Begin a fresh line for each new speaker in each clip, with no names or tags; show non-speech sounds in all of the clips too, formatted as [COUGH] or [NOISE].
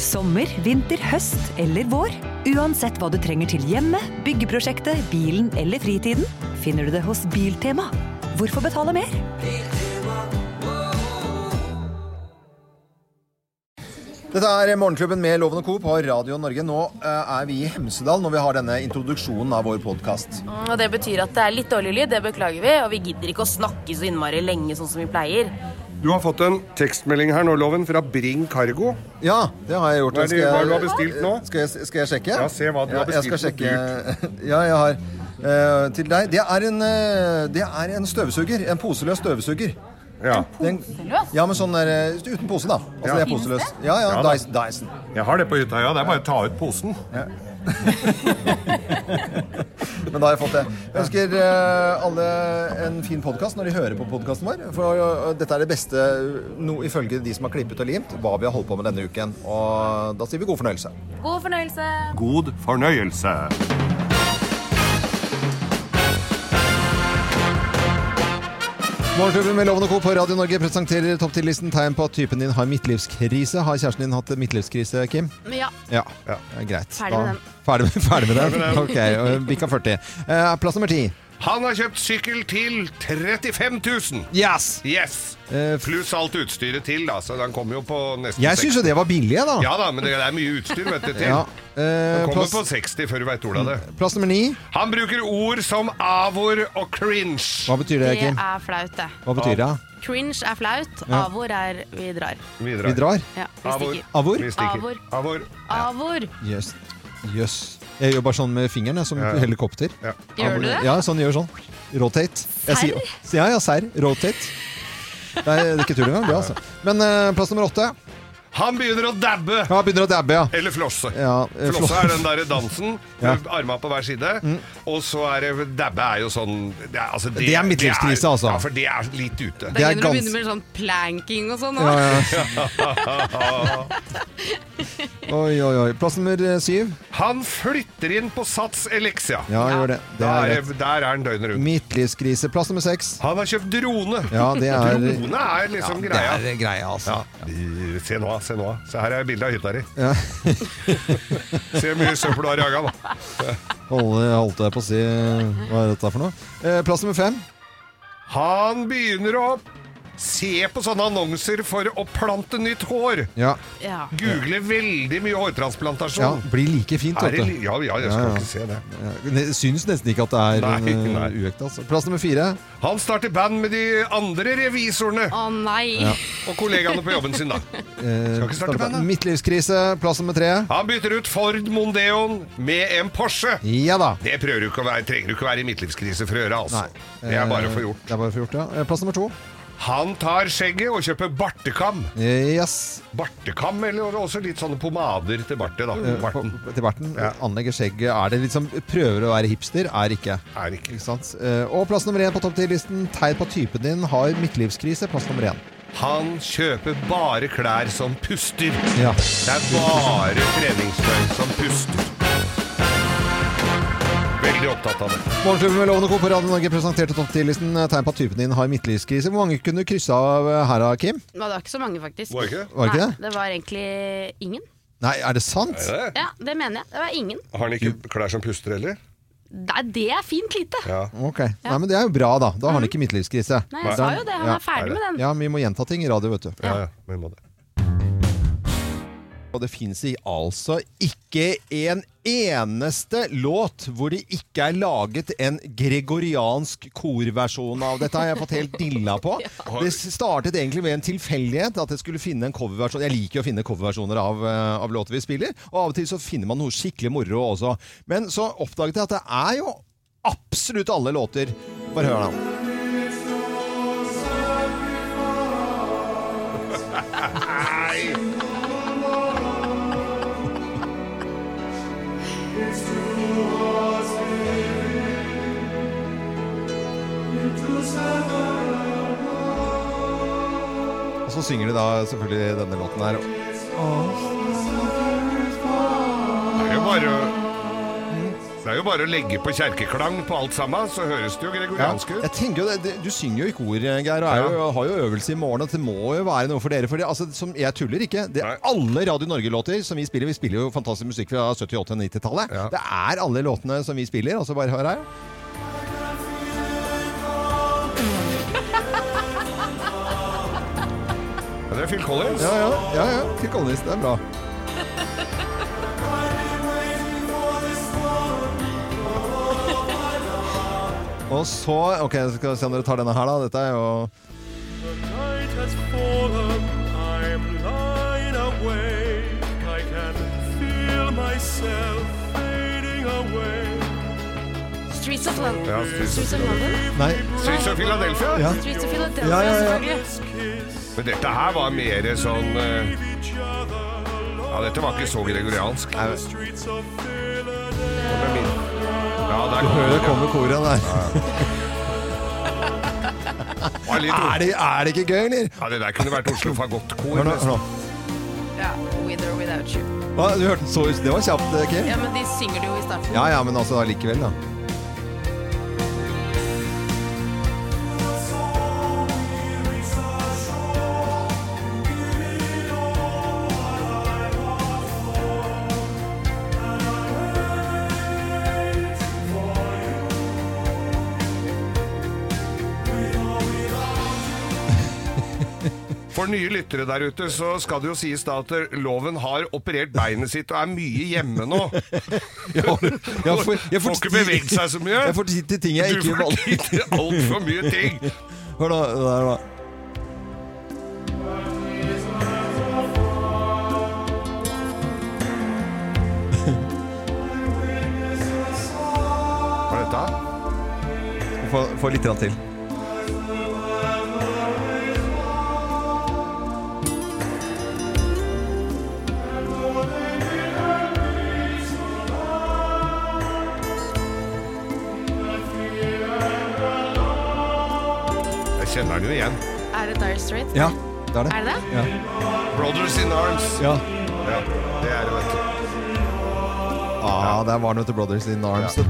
Sommer, vinter, høst eller vår. Uansett hva du trenger til hjemmet, byggeprosjektet, bilen eller fritiden, finner du det hos Biltema. Hvorfor betale mer?
Dette er Morgenklubben med Loven og Co. på Radio Norge. Nå eh, er vi i Hemsedal når vi har denne introduksjonen av vår podkast.
Mm, Og det betyr at det er litt dårlig lyd, det beklager vi. Og vi gidder ikke å snakke så innmari lenge sånn som vi pleier.
Du har fått en tekstmelding her nå, Loven, fra Bring Cargo.
Ja, det har jeg gjort.
Hva er det-
Skal jeg-
hva er det du har bestilt nå?
Skal jeg, skal jeg sjekke?
Ja, se hva du har
jeg skal
bestilt,
sjekke. [LAUGHS] Ja, jeg har eh, Til deg. Det er, en, eh, det er en støvsuger. En poseløs støvsuger.
Ja.
Den,
Poseløs?
ja, men sånn der eh, uten pose, da. Altså,
Ja.
det er
Finnes
poseløs. Ja, ja,
Ja da.
Dyson. Dyson.
Jeg har det på hytta, ja. Det er bare å ta ut posen.
Men da har jeg fått det. Jeg ønsker eh, alle en fin podkast når de hører på podkasten vår. For eh, dette er det beste, no, ifølge de som har klippet og limt, hva vi har holdt på med denne uken. Og da sier vi god fornøyelse.
God fornøyelse.
God fornøyelse.
Morgenklubben med Loven og Co. på Radio Norge presenterer topp 10-listen tegn på at typen din har midtlivskrise. Har kjæresten din hatt midtlivskrise, Kim?
Ja.
Ja, ja. greit.
Ferdig med
Da-
den.
Ferdig med, ferdig med den? Ok, og bikka 40. Eh, plass nummer 10.
Han har kjøpt sykkel til 35 000.
Yes!
Yes!
Eh,
Pluss alt utstyret til, da. Så han kommer jo på nesten
Jeg syns jo det var billig, jeg, da.
Ja da, men det er mye utstyr, vet du, til.
Ja, eh,
Han kommer
plass,
på 60 før du veit ordet av det.
plass nummer 9.
Han bruker ord som avor og cringe.
Hva betyr det,
Det
Kim?
er flaut, det.
Hva betyr det?
Cringe er flaut.
Ja.
Avor er vi drar.
Vi drar?
Ja, vi
Avor.
stikker.
Avor?
Vi stikker.
Avor.
Avor.
Avor.
Jøss. Jøss. Jeg gjør bare sånn med fingeren, jeg, som
Ja, ja.
helikopter.
Ja.
Gjør du det?
Ja, sånn gjør sånn. Rotate. Jeg sier, ja, ja, serr. Rotate. Det er, det er ikke tull engang, det, altså. Men eh, plass nummer åtte.
Han begynner å dabbe.
Ja, begynner å dabbe, ja.
Eller flosse.
Ja, eh,
Flosse
flå-
er den derre dansen.
Ja. Mm.
Med arma på hver side. Og så er det Dabbe er jo sånn Det er, altså,
Det er midtlivskrise,
det er-
altså.
Ja, for det er litt ute.
Det
Det
er
begynner å
gans-
begynne med sånn planking og sånn.
Ja,
nå.
ja.
[LAUGHS]
Oi, oi, oi. Plass nummer eh, syv.
Han flytter inn på Sats Elixia.
Ja, gjør det. Det
Da
er
er
rett.
det- der er han døgnet rundt.
Midtlivskrise. Plass nummer seks.
Han har kjøpt drone.
Ja, det er
Drone er liksom
Ja,
greia.
Det er greia, altså.
Ja. Se nå, se nå. Se her er bildet av hytta di. [LAUGHS] se hvor mye søppel du har jaga, da.
Holde, holdt jeg på å si Hva er dette for noe? Eh, plass nummer fem.
Han begynner å se på sånne annonser for å plante nytt hår.
Ja.
Ja.
Google veldig mye hårtransplantasjon.
ja. Blir like fint,
Er det,
vet
li-
du.
ja, ja, jeg skal
Ja, ja.
ikke se det.
Ja, ne- Syns nesten ikke at det er
Nei,
eh,
nei.
uekte, altså. Plass nummer fire.
Han starter band med de andre revisorene
Ah.
Å nei.
og kollegaene på jobben sin, da.
Eh,
Skal ikke starte bandet.
midtlivskrise. Plass nummer tre.
Han bytter ut Ford Mondeon med en Porsche.
Ja da.
Det prøver du ikke å være, trenger du ikke å være i midtlivskrise for å gjøre, altså.
Nei.
Det er bare
Eh,
for gjort.
Det er bare for gjort, ja. Eh, Plass nummer to.
Han tar skjegget og kjøper bartekam.
Eh, Yes.
Bartekam, eller også litt sånne pomader til bartet, da.
Eh,
Barten
på- Til barten.
Ja.
Anlegger skjegget. Er det liksom prøver å være hipster? Er ikke.
er ikke
Ikke sant? Eh, Og plass nummer én på topp ti-listen. Tegn på at typen din har midtlivskrise. Plass nummer én.
Han kjøper bare klær som puster.
Ja.
Det er bare treningstøy som puster. Veldig opptatt av det.
Morgenklubben med Lovende Co. på Radio Norge presenterte topp ti-listen. eh, Tegn på at typen din har midtlivskrise. Hvor mange kunne du krysse av eh, her, da, Kim?
Men det var ikke så mange, faktisk.
Var det ikke det?
Var det ikke
Nei,
det?
det var egentlig ingen.
Nei, er det sant?
Er det?
Ja, det mener jeg. Det var ingen.
Har han ikke klær som puster heller?
Nei, det er fint lite.
Ja.
Ok. Nei, men det er jo bra, da. Da har han ikke midtlivskrise.
Mm. Nei, jeg sa jo det. Han
Ja.
er ferdig med den.
Ja, men vi må gjenta ting i radio, vet du.
Ja, ja, vi må det.
Og det fins altså ikke en eneste låt hvor det ikke er laget en gregoriansk korversjon av. Dette har jeg fått helt dilla på. Det startet egentlig ved en tilfeldighet at jeg skulle finne en coverversjon. Jeg liker jo å finne coverversjoner av, eh, av låter vi spiller, og av og til så finner man noe skikkelig moro også. Men så oppdaget jeg at det er jo absolutt alle låter. Bare hør da. Og så synger de da selvfølgelig denne låten her.
Det er jo bare å Det er jo bare å legge på kjerkeklang på alt sammen, så høres det jo
Ja,
gregoriansk ut.
jeg tenker jo det, det, Du synger jo i kor, eh, Geir, og er jo,
Ja.
har jo øvelse i morgen. og Det må jo være noe for dere. For det, altså, som, jeg tuller ikke. Det,
Nei.
alle Radio Norge-låter som vi spiller Vi spiller jo fantastisk musikk fra 70-, 80- og 90-tallet.
Ja.
Det er alle låtene som vi spiller. Altså, bare hør her.
Ja, det er Phil Collins.
Ja, ja. ja, ja. Phil Collins, det er [LAUGHS] bra. Og så Ok, skal vi se om dere tar denne her, da. Dette er jo
Night has fallen, I'm lying awake. I can feel myself fading away.
Streets of London.
Ja, Streets of
Streets of London.
Nei.
Streets of Philadelphia.
Ja.
Streets of Philadelphia,
Ja, ja, ja.
selvfølgelig.
Kiss
Men dette her var mer sånn eh,
each other along
Ja, dette var ikke så gregoriansk.
the streets of Philadelphia.
Ja, der
Hører
kom
det kommer koret der.
det var litt
Er det, [LAUGHS] er det ikke gøy, eller?
Ja, det der kunne vært Oslo Fagottkor.
Hør nå. hør nå.
nesten.
Ja, with or without you.
Hva, du hørte den så ut. Det var kjapt, eh, Kim.
Ja, men de synger det jo i starten.
Ja ja, men altså allikevel, da.
For nye lyttere der ute så skal det jo sies da at loven har operert beinet sitt og er mye hjemme nå.
Jeg får- jeg
Får ikke beveget seg så mye.
Jeg får tid til ting [LAUGHS] jeg
Du
ikke
får
valgte.
tid til altfor mye ting.
Hør nå. det Der, da.
Hva er dette?
Få, få litt grann til.
Jeg kjenner den jo igjen.
Er det Dire Straits?
Ja, det er det.
Er det det?
Ja.
Brothers in Arms.
ja.
Ja, det er det, vet du.
Ah, der var noe til Brothers in Arms.
Ja.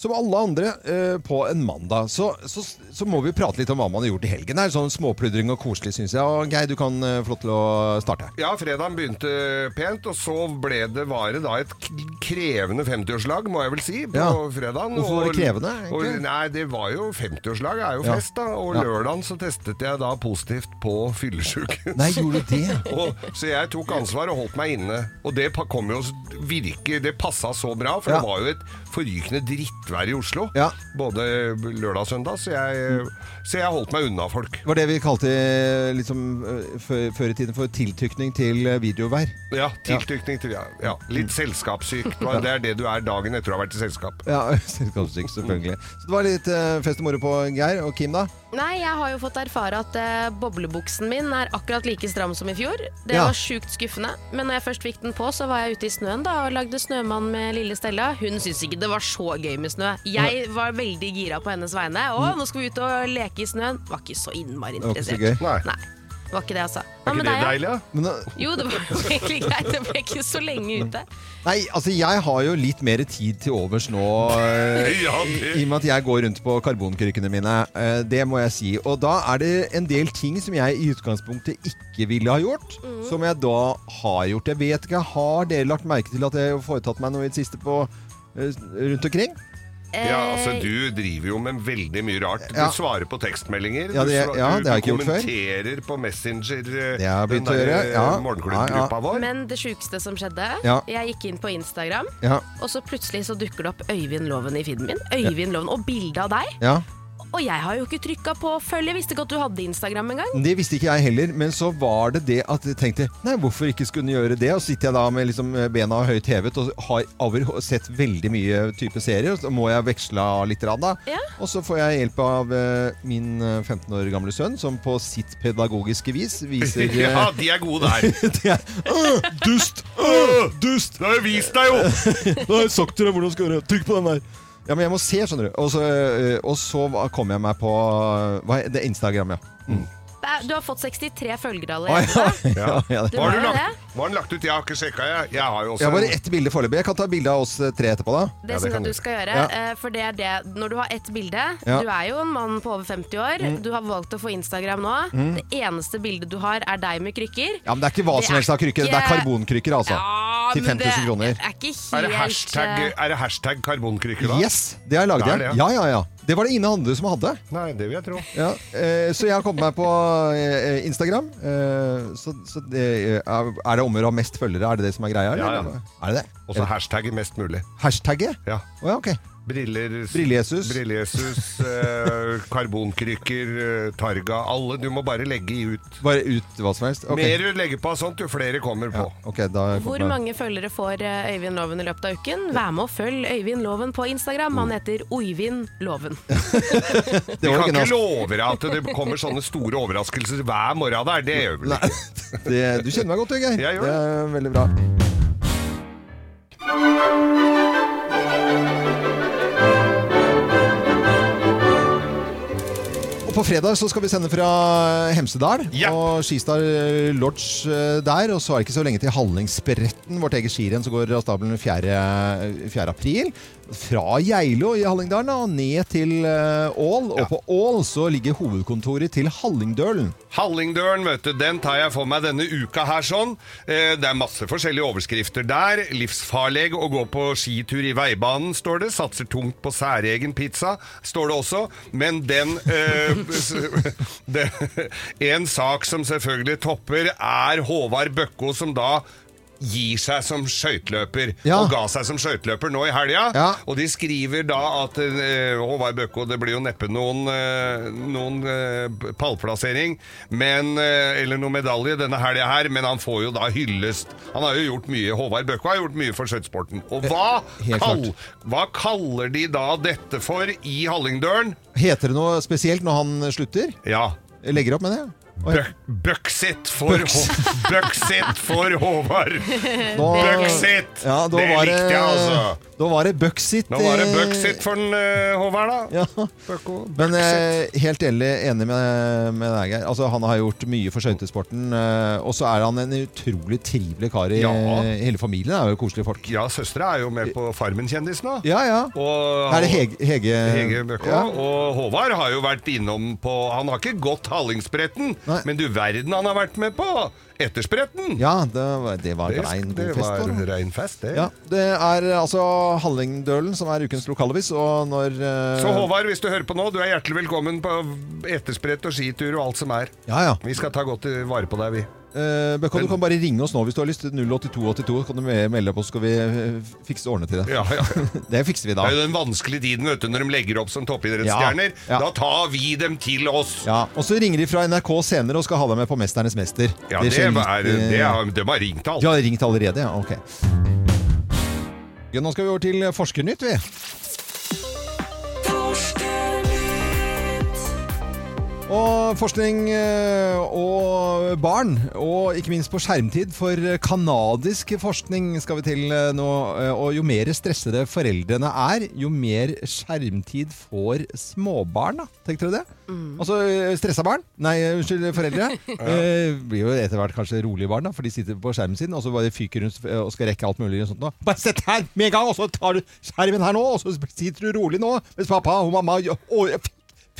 Som alle andre eh, på en mandag, så, så, så må vi prate litt om hva man har gjort i helgen. her, Sånn småpludring og koselig, syns jeg. Og Geir, du kan eh, få lov til å starte.
Ja, fredagen begynte pent, og så ble det vare da et k- krevende 50-årslag, må jeg vel si, på
Ja.
fredagen.
Hvorfor var det
Og-
krevende, egentlig?
Og, nei, det var jo 50-årslag, er jo
Ja.
fest, da. Og
Ja.
lørdagen så testet jeg da positivt på fyllesyken.
Nei, gjorde du det?
Og, så jeg tok ansvar og holdt meg inne. Og det pa- kom jo s- virke, det passa så bra, for
Ja.
det var jo et forrykende drittvær i Oslo.
Ja.
Både lørdag og søndag, så jeg, så jeg holdt meg unna folk.
Det var det vi kalte eh, liksom, eh, før, før i tiden for tiltykning til eh, videovær.
Ja, tilknytning til ja, ja,
[LAUGHS]
Litt selskapssyk. Det var- Det er det du er dagen etter du har vært i selskap.
Ja, [LAUGHS] Selskapssyk, selvfølgelig. Så det var litt eh, fest og moro på Geir. Og Kim, da?
Nei, jeg har jo fått erfare at eh, boblebuksen min er akkurat like stram som i fjor. Det
Ja.
var sjukt skuffende. Men når jeg først fikk den på, så var jeg ute i snøen da og lagde snømann med lille Stella. Hun syntes ikke det var så gøy med snø. Jeg var veldig gira på hennes vegne. Å, nå skal vi ut og leke i snøen. Var ikke så innmari
Mm. Det var ikke så
interessert.
gøy.
Nei.
Nei, det var ikke det jeg sa. Hva
Er ikke
med
det
deg, ja?
deilig, da?
Men, eh,
Jo, det var jo egentlig greit. Det ble ikke så lenge ute.
Nei, altså jeg har jo litt mer tid til overs nå eh,
[LAUGHS] Ja, det-
I og med at jeg går rundt på karbonkrykkene mine eh, Det må jeg si Og da er det en del ting som jeg i utgangspunktet ikke ville ha gjort Som jeg da har gjort Jeg vet ikke, har dere lagt merke til at jeg har foretatt meg noe i det siste på eh, rundt omkring?
Ja, altså Du driver jo med veldig mye rart. Du
Ja.
svarer på tekstmeldinger.
Ja, det-
du sva-
ja, det har jeg
du
ikke gjort før.
kommenterer på Messenger, eh,
Det har jeg
den
begynt å gjøre,
eh,
ja.
morgenklubbgruppa
Ja,
vår.
Men det sjukeste som skjedde
Ja.
Jeg gikk inn på Instagram,
Ja,
og så plutselig så dukker det opp Øyvind Loven i feeden min. Øyvind Loven Og bilde av deg.
ja
Og jeg har jo ikke trykka på følg. Jeg visste ikke at du hadde Instagram engang.
Det visste ikke jeg heller, men så var det det at jeg tenkte Nei, hvorfor ikke skulle jeg gjøre det? Og så sitter jeg da med liksom bena høyt hevet og har overho- sett veldig mye type serier, og så må jeg veksle av litt. grann Da.
Ja.
Og så får jeg hjelp av eh, min eh, 15 år gamle sønn, som på sitt pedagogiske vis viser eh,
[LAUGHS] [LAUGHS] Ja, de er gode
[LAUGHS]
der.
det er, «Åh, Dust! Åh, dust!
Det har jo vist deg, jo!
Nå har jeg sagt til deg hvordan du skal gjøre det. Trykk på den der. Ja, men jeg må se, skjønner du. Og så, eh, og så var- kom jeg meg på eh, hva, er det Instagram, ja.
Det er er, du har fått 63 følgere
Å, ja.
allerede.
[LAUGHS] Ja, ja,
Du
det-
Hva har,
var
du
jo
lagt, hva har den lagt ut? Jeg har ikke sjekka, jeg. Jeg har jo også
Jeg har bare ett bilde foreløpig. Jeg kan ta bilde av oss eh, tre etterpå, da.
Det
Ja, det
synes
kan
jeg
du.
du skal gjøre.
Ja.
eh, For det er det, når du har ett bilde
Ja.
Du er jo en mann på over 50 år. Du har valgt å få Instagram nå. Det eneste bildet du har, er deg med krykker.
Ja, men Det er ikke hva
Det
som
er
helst av krykker. Det er
ikke-
karbonkrykker, altså.
Ja,
til
men
5 000 kroner.
Det er ikke helt
Er det hashtag,
eh,
er det hashtag karbonkrykker, da?
Yes, det har jeg lagd
Det er
igjen.
det,
Ja, ja, ja. Det var det Ine Handle som hadde.
Nei, det vil jeg tro.
Ja, eh, så jeg har kommet meg på eh, Instagram. Eh, så så det, eh, er det om å gjøre å ha mest følgere? Er det det som er greia? eller?
Ja, ja.
Er det det?
Og så hashtag mest mulig.
Hashtagget?
Ja.
Å ja, ok.
Briller
Brillejesus.
Brillejesus,
[LAUGHS]
eh, karbonkrykker, eh, Targa. Alle. Du må bare legge ut.
Bare ut hva som helst? Ok.
Mer du legger på av sånt, jo flere kommer på.
Ok, da har jeg
Hvor
kommet meg-
mange følgere får eh, Øyvind Loven i løpet av uken? Vær med og følg Øyvind Loven på Instagram. Han heter Oivind Loven.
Det
Vi
var
kan
ikke
ikke
noe.
love deg at det kommer sånne store overraskelser hver morgen der. Det gjør vi vel ikke.
Det, du kjenner meg godt, du, Geir.
Jeg gjør
Det er veldig bra. Og På fredag så skal vi sende fra Hemsedal
Ja.
og Skistar Lodge eh, der. Og så er det ikke så lenge til Hallingsbretten, vårt eget skirenn, som går av stabelen 4. 4. april. Fra Geilo i Hallingdalen da, og ned til eh, Ål. Og på Ål så ligger hovedkontoret til Hallingdølen.
Hallingdølen, vet du, den tar jeg for meg denne uka her sånn. Eh, det er masse forskjellige overskrifter der. Livsfarlig å gå på skitur i veibanen, står det. Satser tungt på særegen pizza, står det også. Men den, eh, [LAUGHS] s- den En sak som selvfølgelig topper, er Håvard Bøkko, som da gir seg som skøyteløper,
Ja.
og ga seg som skøyteløper nå i helga.
Ja.
Og de skriver da at eh, Håvard Bøkko, det blir jo neppe noen, eh, noen eh, pallplassering, men, eh, eller noen medalje denne helga her, men han får jo da hyllest. Han har jo gjort mye, Håvard Bøkko har gjort mye for skøytesporten. Og hva,
Eh, helt
kall,
klart.
hva kaller de da dette for i Hallingdølen?
Heter det noe spesielt når han slutter?
Ja,
Jeg legger opp med det. Oi,
bø- Bøksit for,
Bøks.
[LAUGHS] Hå- Bøksit for Håvard!
nå-
Bøksit!
Ja, da
det
var det,
likte jeg, altså.
Da var det Buxit.
Nå var det
eh,
Bøksit for den, eh, Håvard, da.
Ja.
Bøkko,
Men
Bøksit.
eh, helt enig, enig med, med deg, Geir. Altså, han har gjort mye for skøytesporten. Eh, og så er han en utrolig trivelig kar i eh,
Ja.
hele familien. Er jo koselige folk.
Ja, søstera er jo med på Farmen-kjendis nå.
Ja, ja.
Og
Er det Hege, Hege,
Hege Bøkå.
Ja.
Og Håvard har jo vært innom på Han har ikke gått Hallingsbretten,
Nei.
men du verden han har vært med på! Etterspretten!
Ja, det var, det var
det,
rein
det
god fest.
var
da.
rein fest, det.
Ja, det er eh, altså Hallingdølen som er ukens lokalavis, og når eh,
Så Håvard, hvis du hører på nå, du er hjertelig velkommen på ettersprett og skitur og alt som er.
Ja, ja.
Vi skal ta godt vare på deg, vi.
Eh, Bøkko, du kan bare ringe oss nå hvis du har lyst. 08282 kan du me- melde deg på, så skal vi eh, fikse ordne til det.
Ja, ja.
Det fikser vi da.
[LAUGHS] Det er jo den vanskelige tiden vet du, når de legger opp som toppidrettsstjerner.
Ja, ja.
Da tar vi dem til oss!
Ja, Og så ringer de fra NRK senere og skal ha deg med på 'Mesternes mester'.
Ja, det,
skjer
er,
litt, eh,
det er, de har ringt alt.
De har ringt allerede, ja. Ok. Ja, nå skal vi over til Forskernytt, vi. Og forskning eh, og barn, og ikke minst på skjermtid, for kanadisk forskning skal vi til eh, nå. eh, Og jo mer stressede foreldrene er, jo mer skjermtid får småbarn. da. Tenkte dere det? Altså eh, stressa barn, nei, eh, unnskyld, foreldre, eh, blir jo etter hvert kanskje rolige barn, da, for de sitter på skjermen sin og så bare fyker rundt eh, og skal rekke alt mulig. og sånt nå. Bare sett her med en gang, og så tar du skjermen her nå, og så sitter du rolig nå, mens pappa og mamma gjør- å,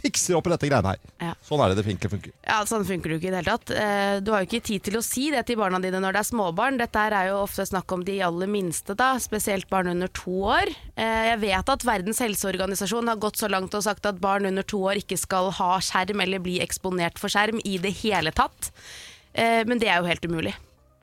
fikser opp i dette greiene her.
Ja.
Sånn er det det funker. funker.
Ja, Sånn funker det jo ikke i det hele tatt. Eh, Du har jo ikke tid til å si det til barna dine når det er småbarn. Dette her er jo ofte snakk om de aller minste, da, spesielt barn under to år. Eh, Jeg vet at Verdens helseorganisasjon har gått så langt og sagt at barn under to år ikke skal ha skjerm eller bli eksponert for skjerm i det hele tatt. Eh, Men det er jo helt umulig.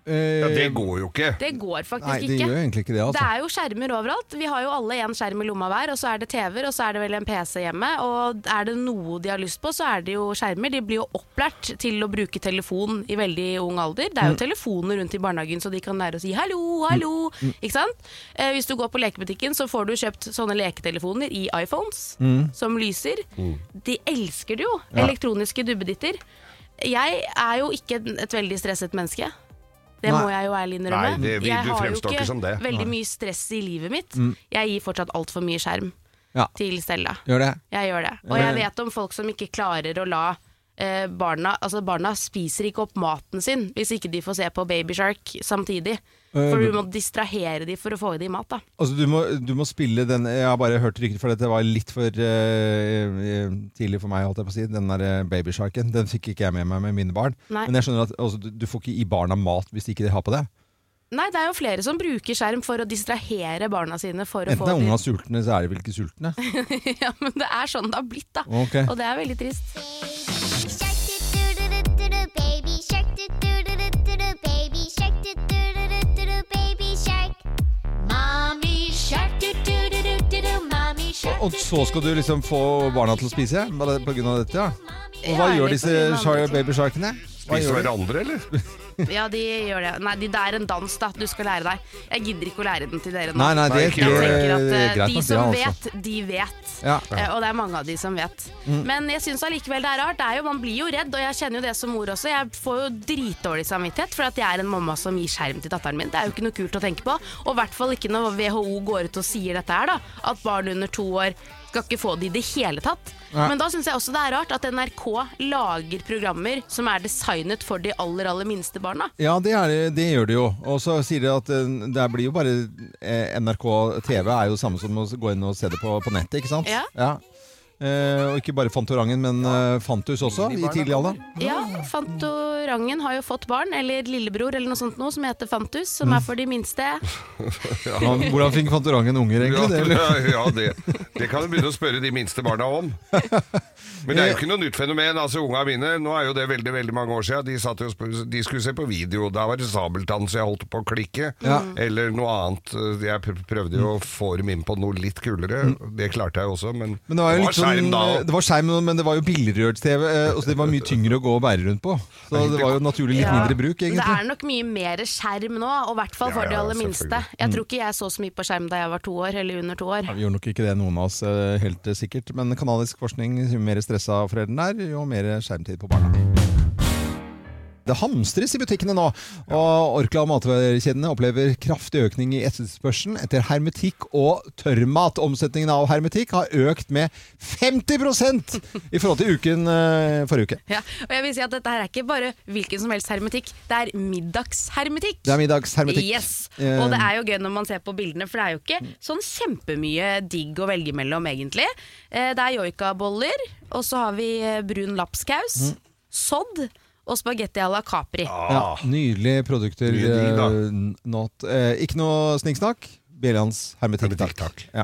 Ja, det går jo ikke.
Det går
Eh,
faktisk
Nei, Ehm, det
ikke.
gjør jo egentlig ikke det.
Det
altså.
er jo skjermer overalt. Vi har jo alle en skjerm i lomma hver, og så er det TV-er, og så er det vel en PC hjemme. Og er det noe de har lyst på, så er det jo skjermer. De blir jo opplært til å bruke telefon i veldig ung alder. Det
Mm.
er jo telefoner rundt i barnehagen, så de kan lære å si 'hallo, hallo'.
Mm.
Ikke sant? Eh, hvis du går på lekebutikken, så får du kjøpt sånne leketelefoner i iPhones
Mm.
som lyser. De elsker det jo. Elektroniske duppeditter. Jeg er jo ikke en- et veldig stresset menneske. Det
Nei.
må jeg jo ærlig innrømme.
Nei, det vil
jeg
du
har jo
fremstår ikke som det.
veldig mye stress i livet mitt. Jeg gir fortsatt altfor mye skjerm
Mm. Ja.
til Stella.
Gjør det.
Jeg gjør det. Og
Men-
jeg vet om folk som ikke klarer å la eh, barna, altså barna spiser ikke opp maten sin hvis ikke de får se på Babyshark samtidig. For du må distrahere de for å få i de mat. da
Altså, du må, du må spille den Jeg har bare hørt rykter, for dette var litt for eh, eh, tidlig for meg. holdt jeg på å si Den der eh, babysharken Den fikk ikke jeg med meg med mine barn.
Nei.
Men jeg skjønner at altså, du, du får ikke i barna mat hvis de ikke har på det.
Nei, det er jo flere som bruker skjerm for å distrahere barna sine. For å
Enten
få
er
de-
ungene sultne, så er de vel ikke sultne.
ja, [LAUGHS] men det er sånn det har blitt, da.
Ok.
Og det er veldig trist.
Shark doo doo doo doo doo doo, baby shark doo doo doo doo doo doo, baby shark doo doo doo doo doo doo, baby shark. Mommy shark doo doo doo doo doo doo, mommy shark.
Og så skal du liksom få barna til å spise bare på grunn av dette, ja. Og hva
Ja,
gjør
litt
disse
på grunn av
shar-
andre ting.
babysharkene? Hva
Spiser
gjør de?
hverandre,
[LAUGHS]
eller?
Ja, de gjør det. Nei, de, det er en dans da, du skal lære deg. Jeg gidder ikke å lære den til dere nå.
Nei, nei, det,
Nei,
det,
ikke gjør
Jeg tenker at
det
eh,
er greit
De
nok, det,
som
altså.
vet, de vet.
Ja. Mm.
Eh, Og det er mange av de som vet. Men jeg syns allikevel det er rart. Det er jo, man blir jo redd, og jeg kjenner jo det som mor også. Jeg får jo dritdårlig samvittighet for at jeg er en mamma som gir skjerm til datteren min. Det er jo ikke noe kult å tenke på. Og i hvert fall ikke når WHO går ut og sier dette her, da. At barn under to år skal ikke få det i det hele tatt.
Nei.
Men da syns jeg også det er rart at NRK lager programmer som er designet for de aller, aller minste barna.
Ja, det, er, det- det gjør det jo. Og så sier de at eh, det blir jo bare eh, NRK TV er jo samme som å gå inn og se det på, på nettet, ikke sant?
Ja.
Eh, og ikke bare Fantorangen, men eh, Fantus også, i tidlig alder.
Ja, Fantorangen har jo fått barn, eller lillebror eller noe sånt noe, som heter Fantus, som er for de [LAUGHS] minste.
Ja, men Hvordan fikk Fantorangen
[LAUGHS]
unger, egentlig? Det, eller?
Ja, ja det, det kan du begynne å spørre de minste barna
[LAUGHS]
om. Men det
Eh,
er jo ikke noe nytt fenomen. altså Unga mine, nå er jo det veldig veldig mange år siden, de, satt jo, og sp- de skulle se på video. Da var det sabeltann så jeg holdt på å klikke. Eller noe annet. Jeg pr- prøvde jo å få dem inn på noe litt kulere. Det klarte jeg også, men,
Mm. Men det var jo litt sånn,
skjerm da
det var skjerm, men det var jo billedrørs-TV, eh, og så det var mye tyngre å gå og bære rundt på. Så det var jo naturlig litt mindre bruk,
Det
egentlig.
er nok mye mer skjerm nå, og i hvert fall
Ja,
for de
ja,
aller minste.
selvfølgelig.
Jeg tror ikke jeg så så mye på skjerm da jeg var to år, eller under to år.
Ja, vi gjorde nok ikke det, noen av oss, eh, helt eh, sikkert. Men kanadisk forskning, jo mer stressa foreldrene er, jo mer skjermtid på barna. Det hamstres i butikkene nå, og Orkla og matvarekjedene opplever kraftig økning i etterspørselen etter hermetikk og tørrmat. Omsetningen av hermetikk har økt med 50 i forhold til uken eh, forrige uke.
Ja, og jeg vil si at dette her er ikke bare hvilken som helst hermetikk, det er middagshermetikk.
Det er middagshermetikk.
Yes,
Eh,
Og det er jo gøy når man ser på bildene, for det er jo ikke sånn kjempemye digg å velge mellom, egentlig. Eh, Det er joikaboller, og så har vi eh, brun lapskaus, sodd og spagetti à la Capri.
Ja, nydelige produkter.
Ah. Mye digg, da.
eh, not, eh, ikke noe snikksnakk. Bjellands hermetikk,
Hermetikk,
takk. Ja.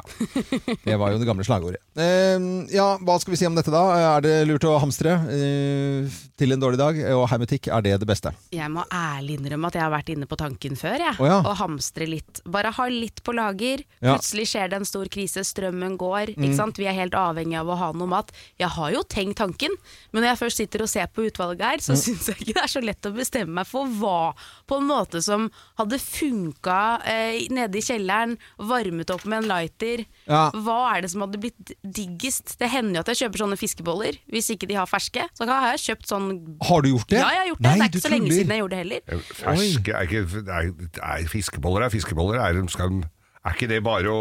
Det var jo det gamle slagordet. Eh, ja, Hva skal vi si om dette, da? Eh, Er det lurt å hamstre eh, til en dårlig dag? Og hermetikk, er det det beste?
Jeg må ærlig innrømme at jeg har vært inne på tanken før, jeg.
Å ja.
Og hamstre litt. Bare ha litt på lager.
Ja. Mm.
Plutselig skjer det en stor krise, strømmen går. Ikke sant? Vi er helt avhengig av å ha noe mat. Jeg har jo tenkt tanken, men når jeg først sitter og ser på utvalget her,
Mm.
så synes syns jeg ikke det er så lett å bestemme meg for hva på en måte som hadde funka eh, nede i kjelleren, varmet opp med en lighter.
Ja.
Hva er det som hadde blitt diggest? Det hender jo at jeg kjøper sånne fiskeboller, hvis ikke de har ferske. Så har jeg kjøpt sånn
Har du gjort det?
ja, jeg har gjort det.
Nei,
det er
du
ikke så lenge
tuller.
siden jeg gjorde det heller.
Eh, Ferske er ikke, er, er Fiskeboller er fiskeboller. Er, de- skal, de- er ikke det bare å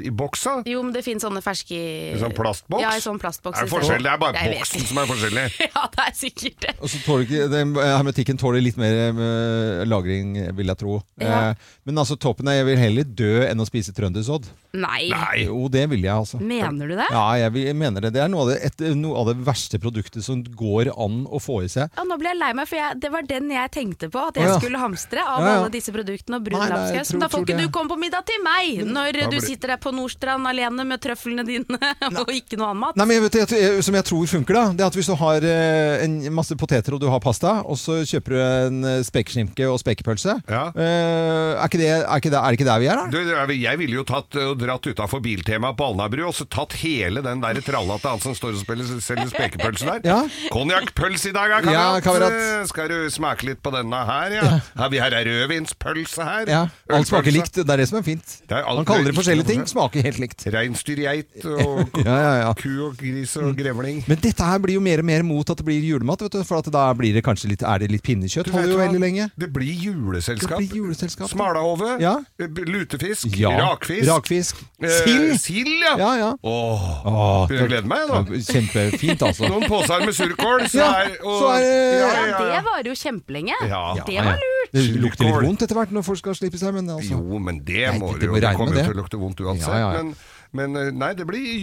I boksa?
Jo, men det finnes sånne ferske
I sånn plastboks?
Ja, i sånn plastboks.
Er det, forskjell? det er bare
Jeg vet
boksen
ikke.
som er
[LAUGHS]
forskjellig.
Ja, det er sikkert det.
Og så tåler ikke, den, eh, hermetikken tåler litt mer eh, lagring, vil jeg tro.
Ja.
Eh, men altså, toppen er jeg vil heller dø enn å spise trøndersodd.
Nei.
Nei.
Jo, det vil jeg, altså.
Mener du det?
Ja, jeg, vil- jeg mener det. Det er noe av det, et, noe av det verste produktet som går an å få i seg.
Ja, nå ble jeg lei meg, for jeg, det var den jeg tenkte på
Å,
at jeg
ja.
skulle hamstre av
Ja, ja.
alle disse produktene og brun
Nei, nei, jeg
lapskaus.
tror-
Men da får
tror
ikke
det.
du komme på middag til meg når
Da
du
blir-
sitter der på Nordstrand alene med trøflene dine [LAUGHS] og ikke noe annen mat.
Nei, men jeg vet, jeg, jeg, Som jeg tror funker, da. Det er at hvis du har eh, en masse poteter og du har pasta, og så kjøper du en eh, spekeskinke og spekepølse
Ja.
eh, er, ikke det, er, ikke der, er det ikke der vi er, da?
Du, du, jeg ville jo tatt eh, og dratt utafor Biltema på Alnabru og så tatt hele den der tralla til han som står og spiller, selger spekepølse der.
[LAUGHS] Ja.
Konjakkpølse i dag, ja, kamerat.
Ja, kamerat.
Eh, Skal du smake litt på denne her, ja? ja. vi har ei rødvinspølse her.
Ja, Alt
Ølpølse.
smaker likt. Det er det som er fint.
Det er alt-
Han kaller
det
det
er
forskjellige
ikke noe
ting. Smaker helt likt.
Reinsdyrgeit og
[LAUGHS] Ja, Mm. ja, ja.
ku og gris og grevling.
Men dette her blir jo mer og mer mot at det blir julemat, vet du. For at da blir det kanskje litt, er det litt pinnekjøtt.
Du vet
Holder jo
hva?
veldig lenge.
Det blir juleselskap.
Det blir juleselskap.
Smalahove, Eh,
Ja.
lutefisk,
Ja.
rakfisk.
Rakfisk.
eh,
Sild.
sild, ja.
Ja, ja.
Åh,
Åh,
jeg gleder meg,
Ja,
da.
Kjempefint, altså.
Noen poser med surkål, så
Ja,
er og,
så er eh, det-
ja,
Ja,
ja,
det
ja.
varer jo kjempelenge.
Ja.
Det var lurt.
Det lukter litt
Surkål.
vondt etter hvert når folk skal slippe seg, men altså
Jo, men det
Nei,
må
det
det jo.
må
Det
regne
kommer
med
jo til
det.
å lukte vondt uansett.
Ja, ja, ja.
Men, men eh, nei, det blir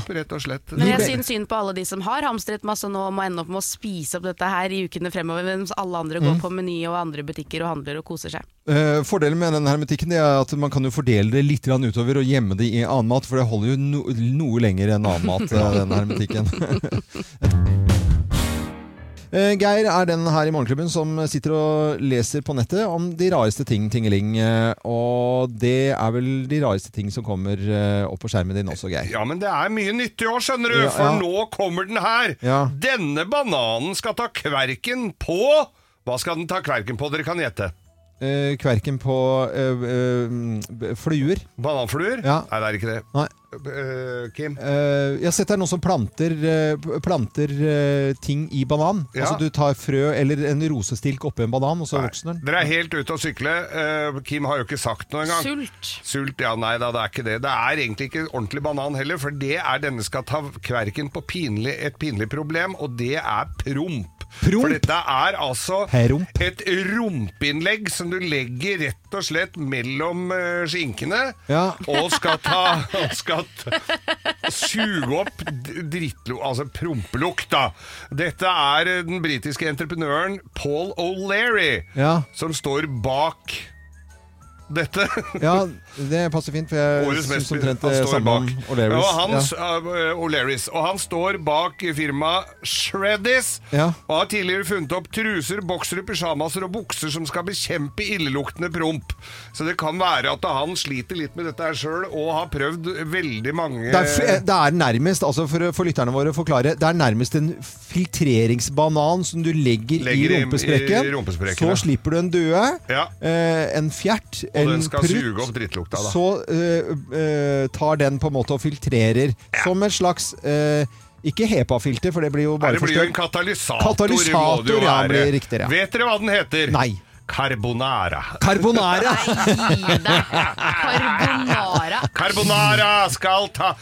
Ja.
rett og slett.
Men jeg
Lurt.
syns synd på alle de som har hamstret masse nå og må ende opp med å spise opp dette her i ukene fremover, mens alle andre
Mm.
går på Meny og andre butikker og handler og koser seg.
Eh, fordelen med den hermetikken det er at man kan jo fordele det litt grann utover og gjemme det i annen mat, for det holder jo no noe lenger enn annen mat, eh, den hermetikken. [LAUGHS] Eh, Geir er den her i Morgenklubben som sitter og leser på nettet om de rareste ting, tingeling. eh, Og det er vel de rareste ting som kommer eh, opp på skjermen din også, Geir.
Ja, men det er mye nyttig òg, skjønner du,
Ja,
for
ja.
nå kommer den her.
Ja.
Denne bananen skal ta kverken på Hva skal den ta kverken på? Dere kan gjette.
Eh, Kverken på eh, eh, fluer.
Bananfluer?
Ja.
Nei, det er ikke det.
Nei.
Eh, Kim?
Eh, jeg har sett det er noen som planter, eh, p- planter eh, ting i banan.
Ja.
Altså Du tar frø eller en rosestilk oppi en banan, og så vokser den.
Dere er helt ute å sykle. Eh, Kim har jo ikke sagt noe engang.
Sult.
Sult, ja, nei da, det er ikke det. Det er egentlig ikke ordentlig banan heller, for det er denne skal ta kverken på pinlig, et pinlig problem, og det er promp.
Promp?
For dette er altså
Heromp.
et rompeinnlegg som du legger rett og slett mellom eh, skinkene,
Ja.
og skal ta og skal ta, suge opp d- drittlo, altså prompelukt, da. Dette er eh, den britiske entreprenøren Paul O'Leary
Ja.
som står bak dette.
Ja, det passer fint, for jeg
Årets
syns
mest
omtrent
han
det
står
samme om
bak.
O'Learys.
Og, han, uh, O'Learys. og han står bak firmaet Shreddis.
Ja.
Og har tidligere funnet opp truser, boksere, pysjamaser og bukser som skal bekjempe illeluktende promp. Så det kan være at han sliter litt med dette her sjøl, og har prøvd veldig mange
Det er, f- eh, det er nærmest, altså for, for lytterne våre å forklare, det er nærmest en filtreringsbanan som du legger,
Legger i-
i rumpesprekken.
i rumpesprekken,
så
ja.
slipper du en døe,
Ja.
eh, en fjert,
og
en
den skal suge opp
prutt.
drittlukta, da.
Så eh, eh, tar den på en måte og filtrerer. Som et slags eh, Ikke HEPA-filter, for det blir jo
Nei,
bare
det blir jo en
forstørret.
katalysator,
Katalysator,
må det jo
ja,
være.
blir riktig, ja.
Vet dere hva den heter?
Nei.
Carbonara.
Carbonara!
Gi deg. Carbonara.
Carbonara skal ta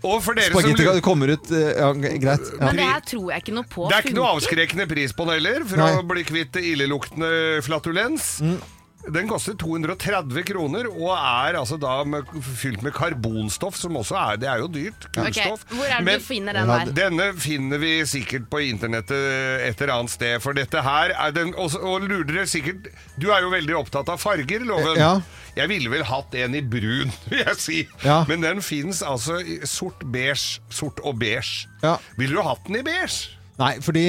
Og for dere som
Spagetti
lurer
det kommer ut eh, ja, Greit. Ja.
Men det her tror jeg ikke noe på.
Det er ikke noe
funker.
avskrekkende pris på den heller, for
Nei. Mm.
å bli kvitt det illeluktende flatulens. Den koster 230 kroner og er altså da med, fylt med karbonstoff, som også er Det er jo dyrt.
Ok,
Kunststoff.
Hvor er det
Men
du finner den her?
denne finner vi sikkert på internettet et eller annet sted, for dette her er den Og, og lurer dere sikkert Du er jo veldig opptatt av farger, Loven.
Ja.
Jeg ville vel hatt en i brun, [LAUGHS] vil jeg si.
Ja.
Men den fins altså i sort, beige, sort og beige.
Ja.
Ville du hatt den i beige?
Nei, fordi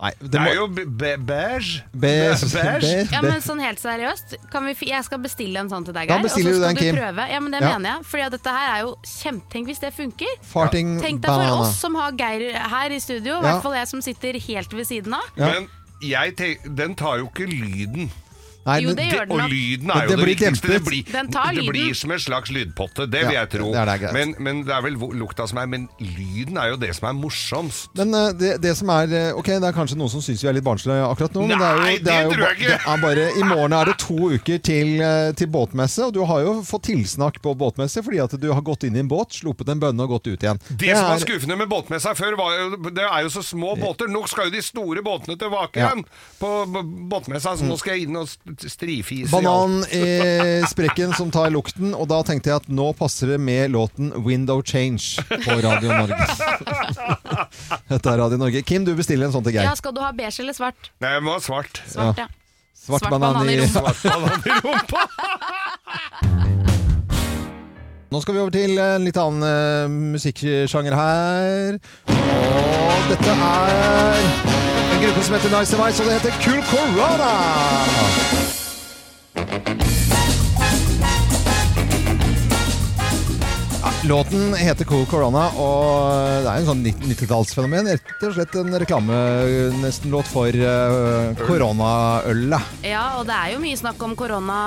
Nei, det
Det
må
er jo be- be- beige.
Be- [LAUGHS]
Be-
be-
Ja,
be-
men sånn helt seriøst kan vi, fi- Jeg skal bestille en sånn til deg,
Da
Geir.
bestiller
og
du
så
den,
skal
Kim.
prøve. Ja, men det
Ja.
mener jeg. Fordi at dette her er jo kjempe... Tenk hvis det funker.
Farting
Tenk deg for
banana.
oss som har Geir her i studio, i
Ja.
hvert fall jeg som sitter helt ved siden av.
Ja.
Men jeg tenk, den tar jo ikke lyden.
Nei,
Jo,
men-
det gjør den.
og
nok.
lyden
Men
er jo
det
det,
blir
viktigste.
dempet.
Det blir,
Den tar
det
lyden.
blir som en slags lydpotte, det vil
Ja,
jeg tro.
det er det, greit.
men, men det er vel vo- lukta som er Men lyden er jo det som er morsomst.
Men eh, det, det som er eh, Ok, det er kanskje noen som syns vi er litt barnslige akkurat nå. men det, er
Nei,
jo,
det
er jo,
tror jeg
ba-
ikke.
Det er bare, I morgen er det to uker til, eh, til båtmesse, og du har jo fått tilsnakk på båtmesse fordi at du har gått inn i en båt, sluppet en bønne og gått ut igjen.
Det som var skuffende med båtmessa før, var jo, det er jo så små båter. Nå skal jo de store båtene tilbake
Ja. Mm.
igjen på b- båtmessa, så nå skal jeg inn og st- strifise. i alt.
Banan i sprekken som tar lukten, og da tenkte jeg at nå passer det med låten 'Window Change' på Radio Norge. Dette er Radio Norge. Kim, du bestiller en sånn til
Ja,
Geir.
skal du ha beige eller svart?
Nei, jeg må ha svart.
Svart, ja.
[LAUGHS] Svart,
svart
banan,
banan i
i
rumpa.
Svart banan i rumpa!
Nå skal vi over til en litt annen eh, musikksjanger her. Og dette er en gruppe som heter Nice Device, og det heter Cool Corona. Ja, Låten heter Cool Corona, og det er en sånn 90-tallsfenomen. Rett og slett en reklame-nesten-låt for eh, koronaølet.
Ja, og det er jo mye snakk om korona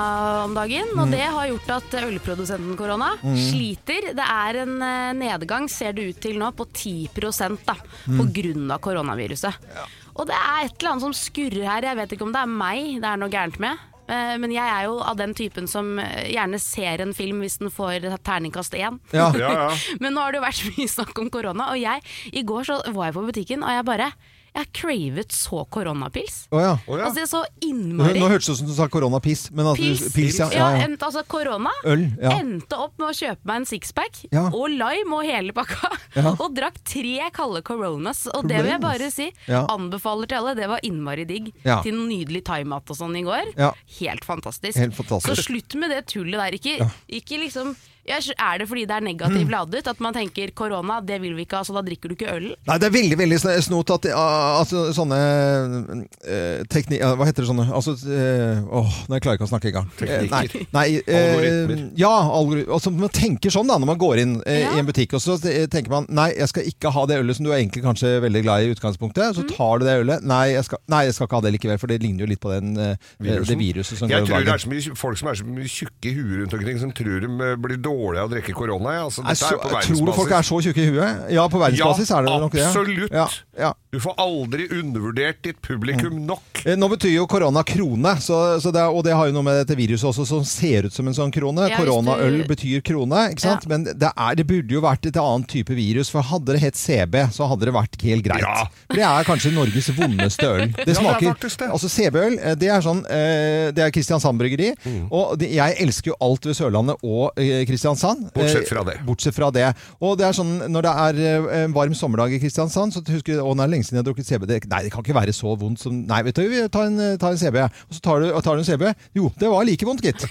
om dagen,
Mm.
og det har gjort at ølprodusenten korona sliter. Det er en eh, nedgang, ser det ut til nå, på 10 da,
Mm.
på grunn av koronaviruset. Og det er et eller annet som skurrer her, jeg vet ikke om det er meg det er noe gærent med. eh, Men jeg er jo av den typen som eh, gjerne ser en film hvis den får terningkast én.
Ja.
Ja, ja.
Men nå har det jo vært mye snakk om korona, og jeg, i går så var jeg på butikken, og jeg bare Jeg har cravet så koronapils.
Å ja.
Å, ja.
Altså, jeg er så
Nå
innmari
nå hørtes det ut som du sa koronapiss. Men at
Pils.
du, pils ja. Ja, ja.
ent- altså korona.
Øl, ja.
Endte opp med å kjøpe meg en sixpack
Ja.
og lime og hele pakka.
Ja.
[LAUGHS] Og drakk tre kalde coronas. Og det vil jeg bare si,
Ja.
anbefaler til alle. Det var innmari digg.
Ja.
Til noe nydelig thaimat og sånn i går.
Ja.
Helt fantastisk.
Helt fantastisk.
Så slutt med det tullet der. Ikke, ikke liksom ja, Er det fordi det er
Mm.
negativt ladet at man tenker korona, det vil vi ikke ha, så da drikker du ikke øl?
Nei, det er veldig veldig sn- snot at ah, altså, sånne eh, tekni... ja, Hva heter det sånne Altså eh, Åh, nå klarer jeg ikke å snakke engang. Eh,
Teknikker.
Nei, nei, eh,
Algoritmer.
Ja, algoritmer. Altså, man tenker sånn da når man går inn eh,
Ja.
i en butikk, og så eh, tenker man nei, jeg skal ikke ha det ølet som du er egentlig kanskje veldig glad i i utgangspunktet. Så tar du det ølet. Nei jeg, skal, nei, jeg skal ikke ha det likevel, for det ligner jo litt på den, eh, det viruset som
jeg
går i
tror det
dagen.
er så mye folk som er så mye tjukke i huet rundt omkring, som tror de eh, blir dårlige av å drikke korona. Ja. Altså,
Er
dette
så,
er jo på
tror du folk er
verdensbasis.
så tjukke i huet? Ja, på verdensbasis
Ja,
er det nok det.
absolutt.
Ja, ja.
Du får aldri undervurdert ditt publikum nok.
Eh, Nå betyr jo korona krone, så, så det, er- og det har jo noe med dette viruset også som ser ut som en sånn krone.
Ja, hvis du-
Koronaøl betyr krone, ikke sant? Men det, er, det burde jo vært et annet type virus, for hadde det hett CB, så hadde det vært helt greit.
Ja.
For det er kanskje Norges vondeste
[LAUGHS]
øl. Det
er
smaker,
faktisk det.
Altså CB-øl, eh, det er sånn eh, Det er Kristiansand Bryggeri,
Mm.
og det, jeg elsker jo alt ved Sørlandet og eh, Kristiansand.
Bortsett
Eh,
fra det.
Bortsett fra det. Og det er sånn, når det er eh, en varm sommerdag i Kristiansand, så husker du å, det er lenge siden jeg har drukket CB. Det, nei, det kan ikke være så vondt som Nei, vet du, vi tar en, eh, tar en CB. Og så tar du, og tar du en CB. Jo, det var like vondt,
[LAUGHS]
gitt.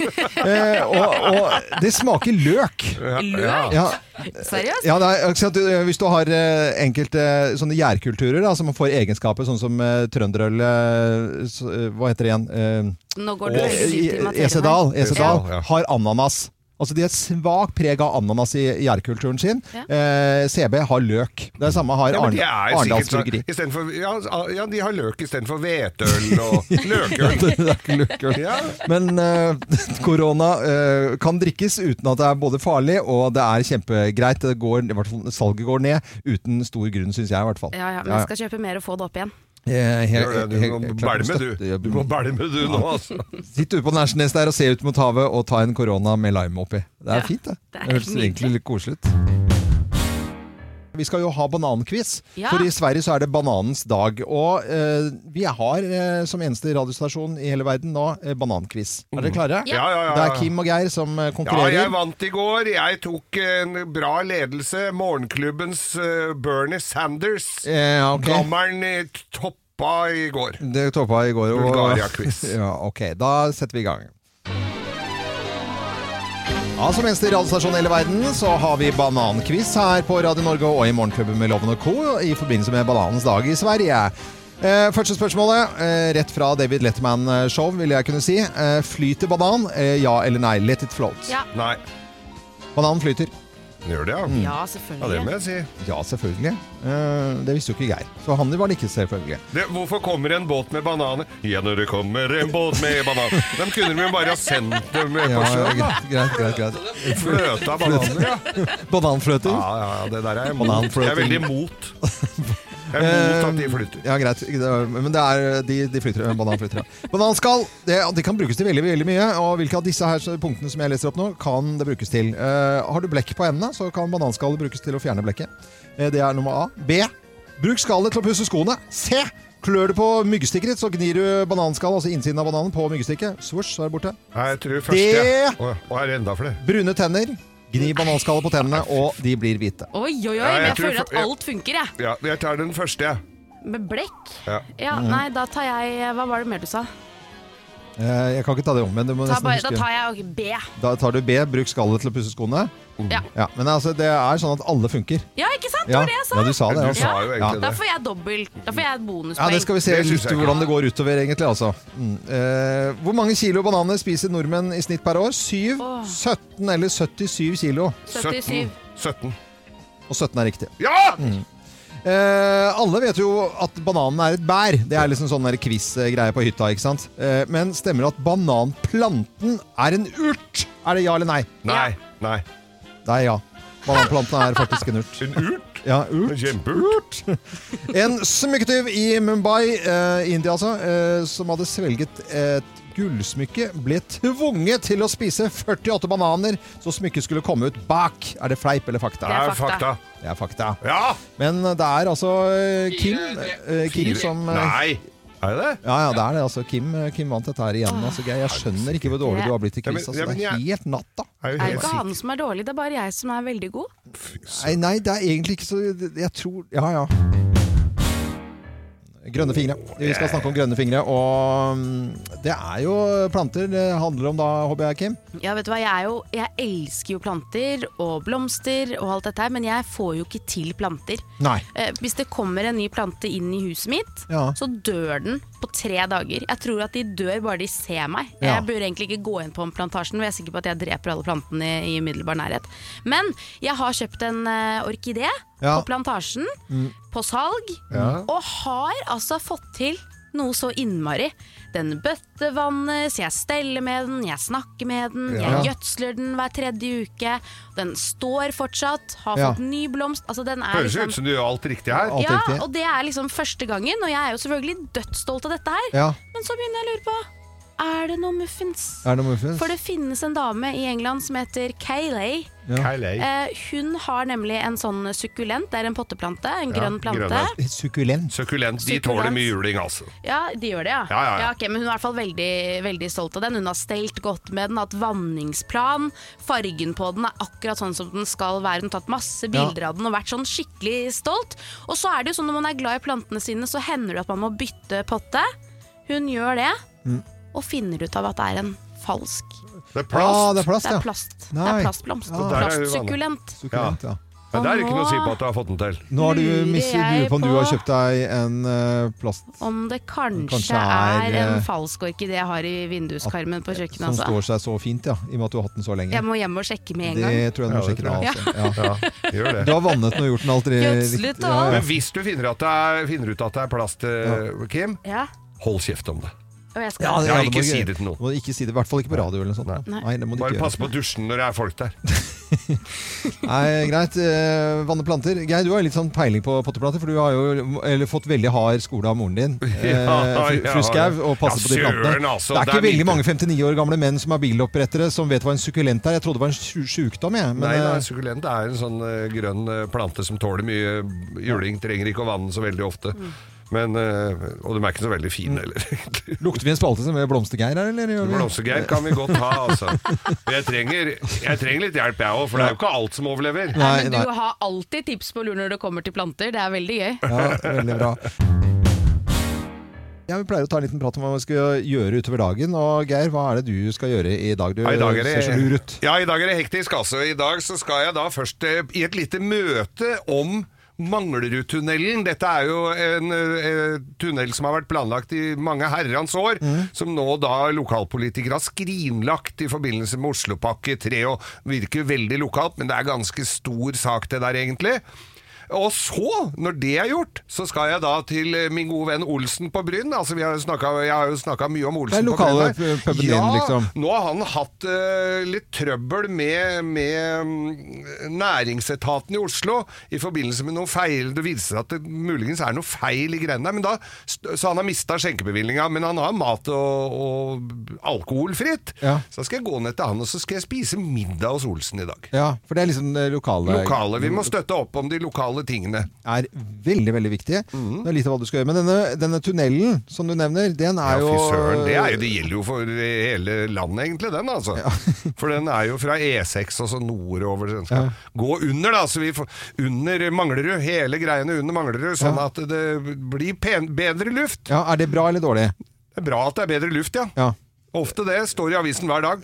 eh, og, og det smaker løk.
Løk?
Ja.
Seriøst?
Ja, det er, ikke sant, du, hvis du har eh, enkelte sånne gjærkulturer da, som får egenskaper, sånn som eh, trønderøl eh, s- eh, Hva heter det igjen? Eh,
Nå går du
Og-
veldig dypt i
eh,
materien. her.
Esedal. Esedal
Ja.
har ananas. Altså De har et svakt preg av ananas i gjærkulturen sin. Eh, CB har løk. Det er samme har
Ja, men de er
Arn-
sikkert
Arendals
sånn-
Bryggeri. [LAUGHS]
i stedet for- ja, ah, ja, de har løk istedenfor hvetøl
[LAUGHS]
og løkøl.
Det er ikke løkøl.
Ja.
Men eh, [LAUGHS] korona eh, kan drikkes uten at det er både farlig og det er kjempegreit. Det går, i hvert fall, salget går ned uten stor grunn, syns jeg i hvert fall.
Ja, ja, men jeg skal kjøpe mer og få det opp igjen.
Eh, helt-
Gjør det, Du må
helt klart
bælme,
støtte-
du. Du må bælme, du nå, altså.
Sitt ute på Nærsnes der og se ut mot havet og ta en korona med lime oppi. Det er
Ja,
fint, det.
det
Det,
er
høres
nydelig.
egentlig litt koselig ut. Vi skal jo ha bananquiz,
Ja.
for i Sverige så er det bananens dag. Og eh, vi har eh, som eneste radiostasjon i hele verden nå eh, bananquiz. Er dere klare?
Ja, Mm. ja, ja.
Det er Kim og Geir som eh,
Ja, jeg
konkurrerer.
vant i går. Jeg tok en bra ledelse. Morgenklubbens eh, Bernie Sanders.
Eh, ok.
Dommeren eh, toppa i går.
Det toppa i går. og-
Bulgaria-quiz.
[LAUGHS] ja, ok. Da setter vi i gang. Ja, Som eneste radiostasjon i hele verden så har vi bananquiz her på Radio Norge og i Morgenklubben med Loven og Co. i forbindelse med bananens dag i Sverige. Eh, første spørsmålet, eh, rett fra David Letterman-show, vil jeg kunne si. Eh, flyter banan? Eh, ja eller nei? Let it float.
Ja.
Nei,
Bananen flyter.
gjør det,
Mm.
ja.
Ja,
Ja, det
selvfølgelig.
må jeg si.
Ja, selvfølgelig. Eh, det visste jo ikke Geir. Så han var det ikke, selvfølgelig.
Det, hvorfor kommer en båt med bananer? Ja, når det kommer en båt med bananer. De kunne de jo bare ha sendt dem
Ja,
på sjøen. da.
greit, greit, greit, greit.
Fløte av bananer, ja.
Bananfløter?
Ja, ja, ja, det der er jeg imot.
Bananfløting.
Jeg er veldig imot. Jeg er imot at de flytter.
Eh, Ja, greit. Men det er eh, de, de flytter, banan flytter, ja. Bananskall det, det kan brukes til veldig veldig mye. Og hvilke av disse her punktene som jeg leser opp nå, kan det brukes til? Eh, har du blekk på endene, så kan bananskallet brukes til å fjerne blekket. Eh, det er nummer A. B. Bruk skallet til å pusse skoene. C. Klør du på myggstikket ditt, så gnir du bananskallet, altså innsiden av bananen, på myggstikket. Svosj, så er det borte.
Nei, jeg tror første. ja.
Det-
Å, å, er det enda flere?
Brune tenner. Gni bananskallet på tennene, og de blir hvite.
Oi, oi, oi.
Ja, jeg
Jeg
tror
føler at
for- jeg-
alt funker, jeg.
Ja, jeg tar den første, jeg.
Med blekk?
Ja.
Ja, nei, da tar jeg Hva var det mer du sa?
Eh, jeg kan ikke ta det om, men du må
Ta
nesten
bare, da
huske.
tar jeg ok, B.
Da tar du B. Bruk skallet til å pusse skoene.
Ja.
Ja, men altså, det er sånn at alle funker.
ja, ikke sant? Det
Ja,
var det Mm. jeg
ja,
sa.
du sa det.
Du
Altså.
sa jo
Ja.
egentlig
Da
det.
får jeg dobbelt. Da får jeg et
Ja,
bonuspoeng.
det skal vi se
Det synes
litt
jeg ikke.
hvordan det går utover, egentlig. Altså. Mm. Eh, hvor mange kilo bananer spiser nordmenn i snitt per år? 7,
Åh.
17 eller 77 kilo?
77.
17.
Og 17 er riktig.
Ja!
Eh, alle vet jo at bananen er et bær. Det er liksom sånn der quiz-greie på hytta. ikke sant? Eh, men stemmer det at bananplanten er en urt? Er det ja eller nei?
Nei. Nei.
Det er ja. Bananplanten er faktisk en urt.
En urt?
Ja, urt.
En kjempeurt?
[LAUGHS] En smykketyv i Mumbai, eh, India altså, eh, som hadde svelget et gullsmykke, ble tvunget til å spise 48 bananer så smykket skulle komme ut bak. Er det fleip eller
Det
fakta?
er
fakta.
fakta.
Det er fakta.
Ja!
Men det er altså eh, Kim, eh, Kim som eh,
Nei! Er det det?
Ja, ja, det er det. altså. Kim, Kim vant dette her igjen. Altså, Geir. jeg skjønner ikke hvor dårlig du har blitt i
Ja, men-
quiz.
ja,
Altså.
men
Det er
jeg-
helt natta.
Er
Det er
jo
jo
helt
ikke
sikkert.
han som er dårlig, det er bare jeg som er veldig god.
Nei, nei, det er egentlig ikke så Jeg tror Ja, ja. Grønne fingre. Vi skal snakke om grønne fingre. Og mm, det er jo planter det handler om da, håper jeg, Kim.
Ja, vet du hva, jeg, er jo, jeg elsker jo planter og blomster og alt dette her, men jeg får jo ikke til planter.
Nei.
Eh, hvis det kommer en ny plante inn i huset mitt,
Ja.
så dør den på tre dager. Jeg tror at de dør bare de ser meg.
Ja.
Jeg bør egentlig ikke gå inn på plantasjen, for jeg er sikker på at jeg dreper alle plantene i, i umiddelbar nærhet. Men jeg har kjøpt en eh, orkidé
Ja. Mm.
på plantasjen, på salg, og har altså fått til noe så innmari. Den bøttevannes, jeg steller med den, jeg snakker med den, jeg gjødsler den hver tredje uke. Den står fortsatt, har
Ja.
fått ny blomst. Altså, den er
Høres ut som du gjør alt riktig her.
Alt
ja,
riktig.
og det er liksom første gangen, og jeg er jo selvfølgelig dødsstolt av dette her.
Ja.
Men så begynner jeg å lure på Er det noe muffins?
Er det noe muffins?
For det finnes en dame i England som heter Kaylay.
Ja.
Kailei.
Eh, hun har nemlig en sånn sukkulent, det er en potteplante, en
Ja,
grønn plante.
grønn,
Sukkulent.
Sukkulent. De tåler mye juling, altså.
Ja, de gjør det, ja.
Ja, ja, ja.
ok, men hun er i hvert fall veldig, veldig stolt av den. Hun har stelt godt med den, hatt vanningsplan. Fargen på den er akkurat sånn som den skal være. Hun har tatt masse bilder av den og vært sånn skikkelig stolt. Og så er det jo sånn når man er glad i plantene sine, så hender det at man må bytte potte. Hun gjør det, og finner ut av at det er en falsk.
Det er
Ja,
plast.
det er plast,
Det
ja.
er plast. Det
Nei.
er plastblomst.
Ja.
Der er det jo
Plastsukkulent.
Sukkulent, ja.
Men det er ikke noe å si på at du har fått den til.
Nå har du
Lurer
mistet
jeg
lurer på om du har
på-
kjøpt deg en eh, plast
Om det kanskje,
Kanskje er,
er,
eh,
en falsk orkidé jeg har i vinduskarmen på kjøkkenet.
som
Altså.
står seg så fint, ja. I og med at du har hatt den så lenge.
Jeg må hjem og sjekke med en gang.
Det tror jeg du må
Ja, det
sjekke
tror
deg
jeg.
av. Ja.
Ja, gjør
Du
det.
har vannet den og gjort den alt ri-
Gjødslet
riktig.
og alt.
Men hvis du finner, at det er, finner ut at det er plast, eh, Kim,
Ja,
hold kjeft om det.
og jeg skal
Ja, det-
Ja,
det må
ikke
du
si
gjøre.
det til noen.
Må du ikke si det, I hvert fall ikke på radio. eller noe sånt. Nei,
Nei.
det må du
Bare
ikke
pass
gjøre.
på dusjen når det er folk der.
Nei, Greit. eh, Vanne planter. Geir, du har litt sånn peiling på potteplanter, for du har jo eller, fått veldig hard skole av moren din. eh,
[LAUGHS] Ja,
fru-
ja,
Fru Skau,
ja.
og passe
Ja,
på de plantene.
søren, altså,
det er
det er
ikke veldig
mye.
mange 59 år gamle menn som er bilopprettere som vet hva en sukkulent er. Jeg trodde det var en sju- sjukdom, jeg. Men
Nei, nei,
eh,
sukkulent er en sånn eh, grønn eh, plante som tåler mye juling. Trenger ikke å vanne den så veldig ofte. Men, eh, og de er ikke så veldig fine heller,
Mm.
[LAUGHS] egentlig.
lukter vi en spalte som Blomstergeir her, eller? gjør vi?
Blomstergeir kan vi godt ha, altså. Jeg trenger, jeg trenger litt hjelp, jeg òg, for det er jo ikke alt som overlever.
Nei,
Nei,
men
nei.
Du har alltid tips på lur når det kommer til planter, det er veldig gøy.
Ja, veldig bra. Ja, vi pleier å ta en liten prat om hva vi skal gjøre utover dagen. Og Geir, hva er det du skal gjøre i dag? Du
Ja, i dag er det,
eh, ser så lur ut.
Ja, i dag er det hektisk, altså. I dag så skal jeg da først eh, i et lite møte om Manglerudtunnelen. Dette er jo en eh, tunnel som har vært planlagt i mange herrans år,
Mm.
som nå da lokalpolitikere har skrinlagt i forbindelse med Oslopakke 3, og virker veldig lokalt, men det er ganske stor sak det der, egentlig. Og så, når det er gjort, så skal jeg da til eh, min gode venn Olsen på Bryn. Altså, vi har jo snakket, jeg har jo snakka mye om
Det
Olsen
er
på Bryn.
lokale
her.
puben din, liksom.
Nå har han hatt eh, litt trøbbel med, med mm, næringsetaten i Oslo i forbindelse med noe feil. Det viser seg at det muligens er noe feil i greiene der, men da, st- så han har mista skjenkebevillinga. Men han har mat og, og alkoholfritt.
Ja.
Så skal jeg gå ned til han, og så skal jeg spise middag hos Olsen i dag.
Ja, for det er liksom det lokale
Lokale. Vi må støtte opp om de lokale tingene.
er veldig, veldig viktige.
Mhm.
Det er litt av hva du skal gjøre. Men denne, denne tunnelen som du nevner, den er
Ja,
jo
fy søren. Det, er jo, det gjelder jo for hele landet, egentlig, den. altså. for den er jo fra E6 og så nordover. så Den skal gå under, da. Så vi får under Manglerud. Hele greiene under Manglerud. Sånn at det blir pen, bedre luft.
Ja, Er det bra eller dårlig?
Det er bra at det er bedre luft, ja.
Ja.
Ofte det. Står i avisen hver dag.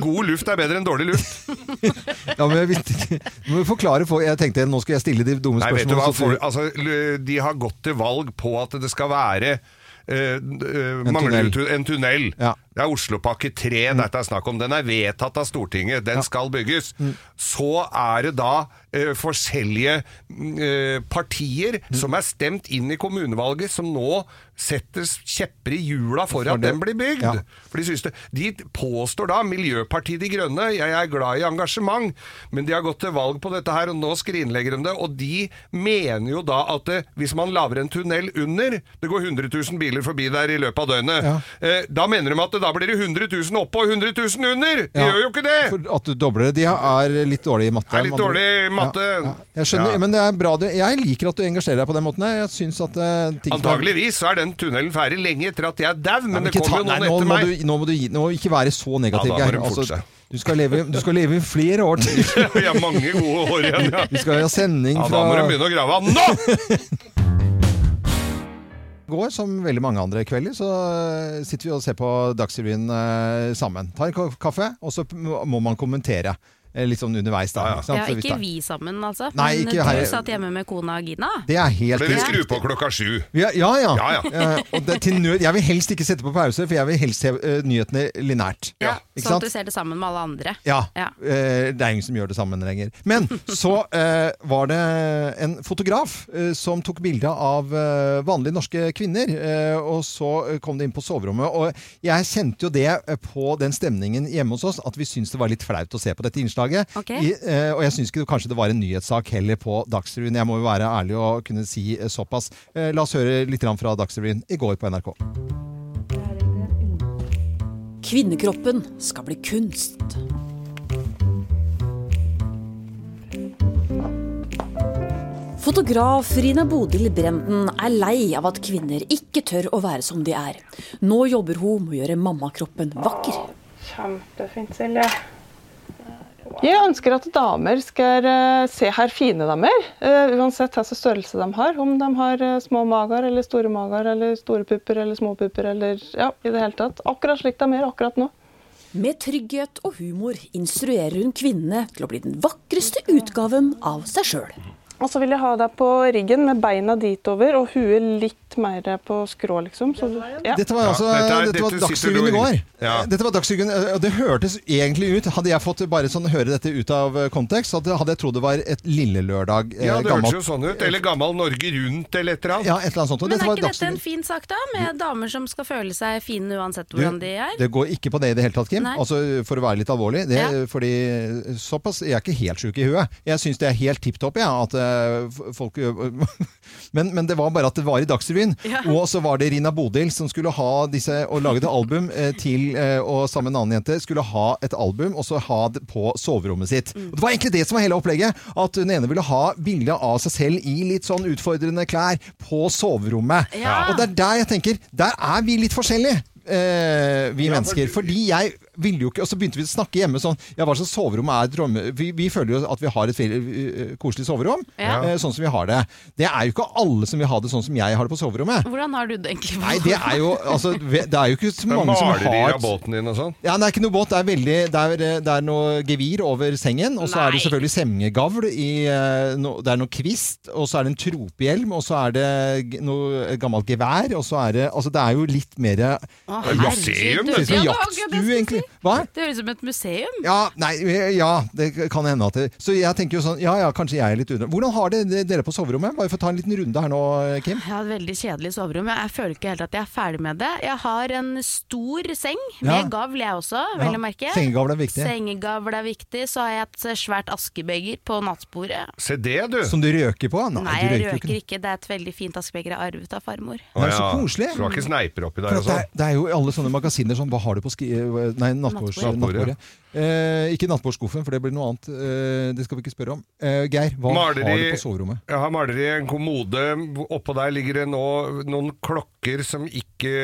God luft er bedre enn dårlig luft.
ja men jeg visste ikke Du [LAUGHS] må forklare for Jeg tenkte nå skal jeg stille de dumme
Nei, vet du
spørsmålene.
hva,
så
for, altså, l- de har gått til valg på at det skal være eh, eh, Manglerud-
tunnel.
en tunnel.
Ja. Mm.
Det er Oslopakke 3 dette er snakk om. Den er vedtatt av Stortinget. Den skal bygges.
Mm.
Så er det da eh, forskjellige mm, eh, partier
Mm.
som er stemt inn i kommunevalget, som nå setter kjepper i hjula for at den blir bygd.
Ja.
For de, synes det, de påstår da Miljøpartiet De Grønne Jeg er glad i engasjement, men de har gått til valg på dette her, og nå skrinlegger de det. Og de mener jo da at det, hvis man lager en tunnel under Det går 100 000 biler forbi der i løpet av døgnet. Eh, da mener de at det, da blir det 100 000 oppå og 100 000 under! De
Ja.
gjør jo ikke det!
For at du dobler det. De er litt dårlige i matte.
Er litt
man-
dårlig i matte.
Ja, ja. Jeg skjønner,
Ja.
men det er bra. Du, jeg liker at du engasjerer deg på den måten. her. Jeg synes at eh, ting som er-
Antageligvis så er den tunnelen ferdig lenge etter at jeg er dau,
Nei,
men det
ikke
kommer
ta-
jo noen
nei, nå
etter
må
meg.
Du, nå må du gi- nå ikke være så negativ,
Ja, da må
Geir. Altså,
de forte seg.
du, skal leve, du skal leve i flere år til.
[LAUGHS] Vi har mange gode år igjen,
[LAUGHS]
ja.
Vi skal ha sending
[LAUGHS] ja da
fra
må du begynne å grave. Nå!
går, som veldig mange andre kvelder. Så eh, sitter vi og ser på Dagsrevyen eh, sammen. Tar en ko- kaffe, og så p- må man kommentere eh, litt sånn underveis. Da,
Ja, ja.
sant?
Ja,
Så vi
ikke
tar-
vi sammen, altså.
Nei,
men
ikke her.
du satt hjemme med kona Gina.
Det er helt
Dere
riktig.
skrur på klokka sju.
Ja, ja. ja.
Ja, ja.
Eh, og det, til nød, jeg vil helst ikke sette på pause, for jeg vil helst se eh, nyhetene linært.
Ja.
Ikke
sånn
sant?
at du ser det sammen med alle andre.
Ja.
Ja.
eh, det er ingen som gjør det sammen lenger. Men så eh, var det en fotograf eh, som tok bilde av eh, vanlige norske kvinner. eh, og så eh, kom det inn på soverommet. Og jeg kjente jo det eh, på den stemningen hjemme hos oss, at vi syntes det var litt flaut å se på dette innslaget.
Ok.
I, eh, og jeg syns ikke det- kanskje det var en nyhetssak heller på Dagsrevyen. Jeg må jo være ærlig og kunne si eh, såpass. Eh, la oss høre litt grann fra Dagsrevyen i går på NRK.
Kvinnekroppen skal bli kunst. Fotograf Rina Bodil Brenden er lei av at kvinner ikke tør å være som de er. Nå jobber hun med å gjøre mammakroppen vakker.
Kjempefint, Silje. Jeg ønsker at damer skal eh, se her fine damer, eh, uansett hva slags størrelse de har. Om de har eh, små mager, eller store mager, eller store pupper, eller små pupper, eller ja, i det hele tatt. Akkurat slik de er akkurat nå.
Med trygghet og humor instruerer hun kvinnene til å bli den vakreste utgaven av seg sjøl.
Og så vil jeg ha deg på ryggen med beina dit over, og huet litt mer på skrå, liksom. Så du, ja.
Dette var,
Ja,
altså,
dette er-
dette var
dette sitter
Dagsrevyen
du
i går.
i- Ja.
Dette var Dagsrevyen, og det hørtes egentlig ut Hadde jeg fått bare sånn høre dette ut av eh, kontekst, så hadde jeg trodd det var et Lille Lørdag eh,
Ja, det
gammelt-
hørtes jo sånn ut. Eller Gammal Norge Rundt eller et eller annet.
Ja, et eller annet sånt. og
Men er
var
ikke dette
Dagsrevyen.
en fin sak, da? Med damer som skal føle seg fine uansett
Du,
hvordan de er?
Det går ikke på det i det hele tatt, Kim.
Nei.
Altså, for å være litt alvorlig. Det,
Ja.
fordi, såpass, Jeg er ikke helt sjuk i huet. Jeg syns det er helt tipp topp ja, at eh, f- folk [LAUGHS] men, men det var bare at det var i Dagsrevyen. [LAUGHS] Og så var det Rina Bodil som skulle ha disse og lage et album eh, til eh, Og sammen med en annen jente skulle ha et album og så ha det på soverommet sitt.
Mm.
Og det var egentlig det som var hele opplegget. At hun ene ville ha bilde av seg selv i litt sånn utfordrende klær på soverommet.
Ja.
Og det er der jeg tenker Der er vi litt forskjellige. eh, vi mennesker. Fordi jeg ville jo ikke Og så begynte vi å snakke hjemme sånn Ja, hva slags soverom er drømme... Vi, vi føler jo at vi har et fel- eh, koselig soverom,
Ja.
eh, sånn som vi har det. Det er jo ikke alle som vil ha det sånn som jeg har det på soverommet.
Hvordan har du det egentlig?
Nei, det er jo Altså, ve- det er jo ikke så
Men
mange som
Maler de
har
av båten din og sånn?
ja, Det er ikke noe båt. Det er, veldig, det er, eh, det er noe gevir over sengen, og så er det
Nei.
selvfølgelig semmegavl. i, eh, no, Det er noe kvist, og så er det en tropehjelm, og så er det g- noe et gammelt gevær, og så er det Altså, det er jo litt mer eh,
Å,
Det er museum,
herregud.
dette.
Det er
Ja, det var
en
akkurat det
jaktstue,
jeg
egentlig.
skulle si.
Hva?
Det høres ut som et museum.
Ja, nei, eh, ja, det kan hende at det, Så jeg tenker jo sånn, ja ja, kanskje jeg er litt under Hvordan har det- det dere på soverommet? Bare få ta en liten runde her nå, Kim.
Jeg har et veldig kjedelig soverom. Jeg føler ikke helt at jeg er ferdig med det. Jeg har en stor seng,
Ja.
med gavl jeg også,
Ja,
vel å merke.
Sengegavl er viktig.
Sengegavl er viktig. Så har jeg et svært askebeger på nattbordet.
Se det, du!
Som du røker på? Nei,
Nei,
du
jeg
røker jo ikke.
røker ikke. Det er et veldig fint askebeger jeg har arvet av farmor.
Å
Det er så koselig.
Så du har ikke sneiper oppi der
For
og
at det, er,
sånn?
det er jo i alle sånne magasiner sånn Hva har du på skri... Nei, nattbords,
Nattbordet.
nattbordet. Eh, ikke nattbordskuffen, for det blir noe annet. Eh, det skal vi ikke spørre om. Eh, Geir, hva
Maler
har
de-
du på soverommet?
Jeg har maleri i en kommode. Oppå der ligger det nå noen klokker som ikke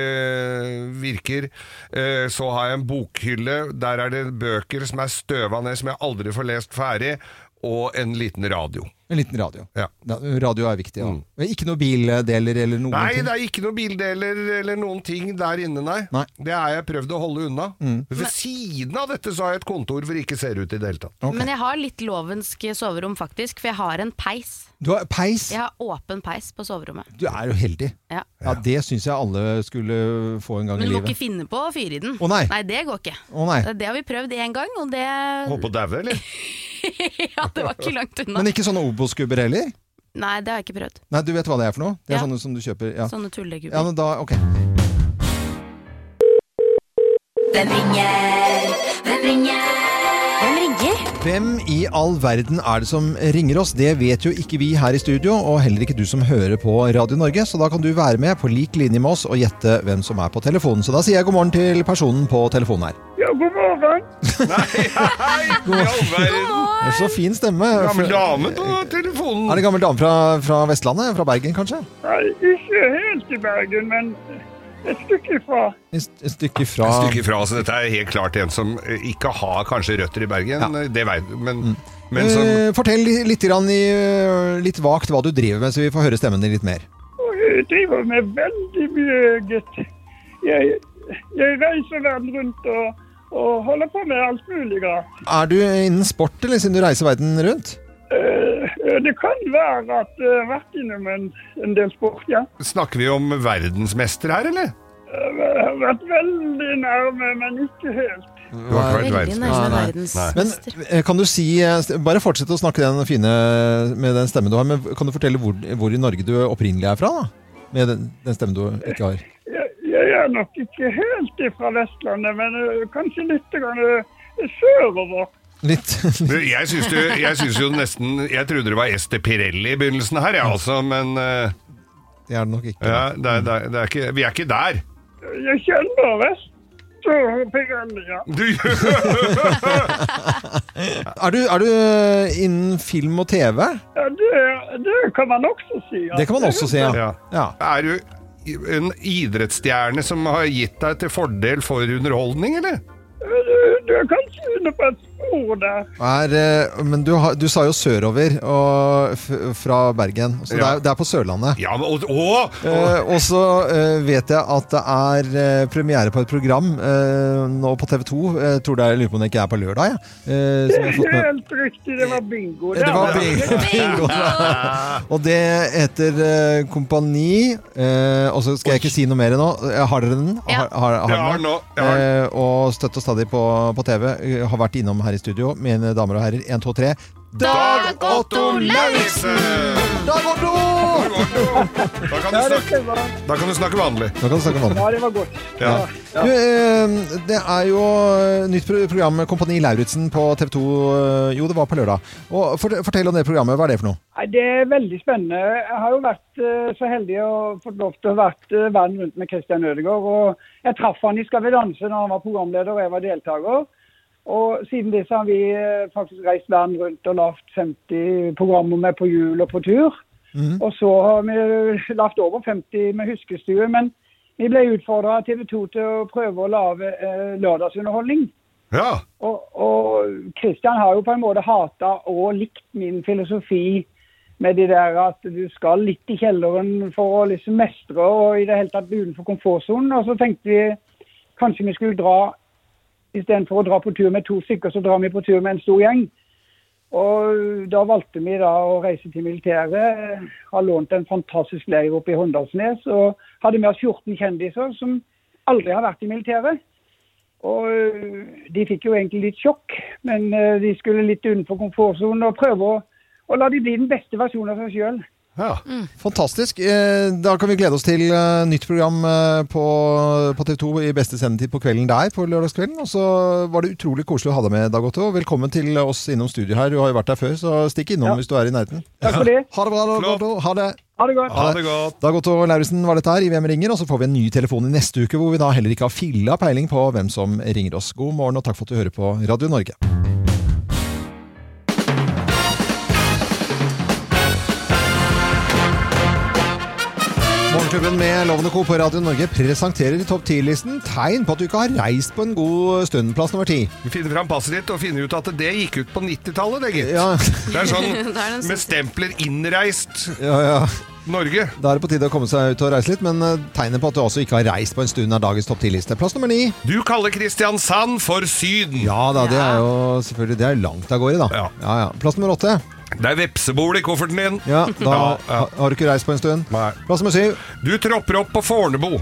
virker. Eh, Så har jeg en bokhylle. Der er det bøker som er støva ned, som jeg aldri får lest ferdig. og en liten radio.
En liten radio.
Ja.
Da- Radio er viktig. Ja. Eh, Ikke noe bildeler eller noen
Mm. Nei,
ting?
det er ikke noen bildeler eller noen ting der inne, nei.
Nei.
Det har jeg prøvd å holde unna.
Mm.
Ved siden av dette så har jeg et kontor hvor det ikke ser ut i det hele tatt.
Men jeg har litt lovensk soverom, faktisk, for jeg har en peis.
Du har peis?
Jeg har åpen peis på soverommet.
Du er jo heldig.
Ja.
Ja, Det syns jeg alle skulle få en gang
Men
Sånn i
du må
livet.
ikke finne på å fyre i den.
Å, nei.
det går ikke.
Å, nei.
Det har vi prøvd én gang, og det [LAUGHS]
Håper å daue, [LAUGHS] eller?
Ja, det var ikke langt unna.
Men ikke sånne Obos-gubber heller?
Nei, det har jeg ikke prøvd.
Nei, du vet hva det er for noe? Det er
Ja.
sånne som du kjøper ja.
Sånne tullegubber.
Ja, men da, ok.
Hvem ringer? Hvem ringer? Hvem ringer?
Hvem i all verden er det som ringer oss? Det vet jo ikke vi her i studio, og heller ikke du som hører på Radio Norge, så da kan du være med på lik linje med oss og gjette hvem som er på telefonen. Så da sier jeg god morgen til personen på telefonen her.
Ja, god morgen.
Det er så fin stemme.
Gammel dame på telefonen.
Er det gammel dame fra, fra Vestlandet? Fra Bergen, kanskje?
Nei, ikke helt i Bergen, men et stykke ifra.
Et stykke fra
Et stykke ifra, så dette er helt klart en som eh, ikke har kanskje røtter i Bergen, det vet du, men, men som
Eh, Fortell litt, grann i, eh, litt vagt hva du driver med, så vi får høre stemmen din litt mer.
Og jeg driver med veldig mye, gutt. Jeg, jeg reiser verden rundt og, og holder på med alt mulig rart.
Er du innen sport, eller siden du reiser verden rundt?
Eh, Det kan være at jeg har vært innom en, en del sport, ja.
Snakker vi om verdensmester her, eller?
Jeg har vært veldig nærme, men ikke helt.
Du har ikke vært
Veldig nærme
Nei, nei.
verdensmester.
Men eh, kan du si eh, st- Bare fortsett å snakke den fine med den stemmen du har, men kan du fortelle hvor, hvor i Norge du opprinnelig er fra? da? Med den, den stemmen du ikke har.
Jeg, jeg er nok ikke helt ifra Vestlandet, men eh, kanskje litt grann, eh, sørover.
Litt. [LAUGHS]
Du, Jeg syns jo, jeg syns jo nesten Jeg trodde det var Ester Pirelli i begynnelsen her, ja, altså, men eh,
Det er det nok ikke.
ja, det, er- det, er- det er ikke, Vi er ikke der.
Jeg kjenner Vest-Pirelli, ja.
Du [LAUGHS] gjør
Er du, er du eh, innen film og TV?
Ja, det, det kan man også si. Ja.
Det kan man også si, ja. ja.
Er du en idrettsstjerne som har gitt deg til fordel for underholdning, eller?
Du, du Eh, er kanskje inne på et spor der.
Er, eh, men du, har, du sa jo sørover og f fra Bergen, så det,
Ja.
er, det er på Sørlandet.
Ja, men, og, og,
Eh, og så eh, vet jeg at det er eh, premiere på et program eh, nå på TV 2. Jeg tror det er, jeg lurer på om det ikke er på lørdag. Ja. Eh, som jeg har fått med. Eh,
Helt riktig, det var bingo.
Det var bingo. bingo. Og det heter eh, Kompani. eh, og så skal jeg ikke si noe mer nå. Eh, Har dere den? Har, har,
Jeg har
har
den nå. Jeg har den.
Eh, og støtt og stadig på, på TV. Eh, Har vært innom her i studio, mine damer og herrer. 1, 2, 3.
Dag Otto Lauritzen!
Dag
Otto! Da kan du snakke, da kan du snakke vanlig.
Da kan du snakke om vannet.
Ja, det var godt.
Ja.
Du, eh, det er jo eh, nytt pro- program Kompani Lauritzen på TV 2. eh, Jo, det var på lørdag. Og fort- Fortell om det programmet. Hva er det for noe?
Nei, Det er veldig spennende. Jeg har jo vært eh, så heldig å fått lov til å vært eh, verden rundt med Christian Ødegaard. Og jeg traff han i Skal vi danse når han var programleder og jeg var deltaker. Og siden det så har vi eh, faktisk reist verden rundt og lagd 50 programmer med på hjul og på tur. Og så har vi eh, lagt over 50 med huskestue, men vi ble utfordra av TV 2 til å prøve å lage eh, lørdagsunderholdning.
Ja.
Og, og Christian har jo på en måte hata og likt min filosofi med de der at du skal litt i kjelleren for å liksom mestre og i det hele tatt bli utenfor komfortsonen. Og så tenkte vi kanskje vi skulle dra istedenfor å dra på tur med to stykker, så drar vi på tur med en stor gjeng. Og da valgte vi da å reise til militæret. Har lånt en fantastisk leir oppe i Håndalsnes. Og hadde med oss 14 kjendiser som aldri har vært i militæret. Og øh, de fikk jo egentlig litt sjokk, men øh, de skulle litt utenfor komfortsonen og prøve å, å la de bli den beste versjonen av seg sjøl.
Mm. Fantastisk. Eh, Da kan vi glede oss til eh, nytt program eh, på, på TV 2 i beste sendetid på kvelden der på lørdagskvelden. Og så var det utrolig koselig å ha deg med, Dag Otto. Velkommen til oss innom studio her. Du har jo vært der før, så stikk innom hvis du er i nærheten.
Takk for det.
Ha det bra, Dag Otto. Ha det.
Ha det godt.
Dag Otto Lauritzen var dette her i Hvem ringer, og så får vi en ny telefon i neste uke hvor vi da heller ikke har filla peiling på hvem som ringer oss. God morgen og takk for at du hører på Radio Norge. Morgen Morgenklubben med Lovende Co. på Radio Norge presenterer i topp 10-listen tegn på at du ikke har reist på en god stund. Plass nummer ti.
Vi finner fram passet ditt og finner ut at det gikk ut på 90-tallet, det gitt.
Ja.
Det er sånn
[LAUGHS] Det er den
med stempler innreist.
Ja, ja.
Norge.
Da er det på tide å komme seg ut og reise litt, men eh, tegnet på at du altså ikke har reist på en stund, er dagens topp 10-liste. Plass nummer ni.
Du kaller Kristiansand for Syden.
Ja da, det er jo selvfølgelig det er langt av gårde, da. Ja. Ja, Plass nummer åtte.
Det er vepsebol i kofferten din.
Ja, da ha- har du ikke reist på en stund. Plass nummer syv.
Du tropper opp på Fornebu.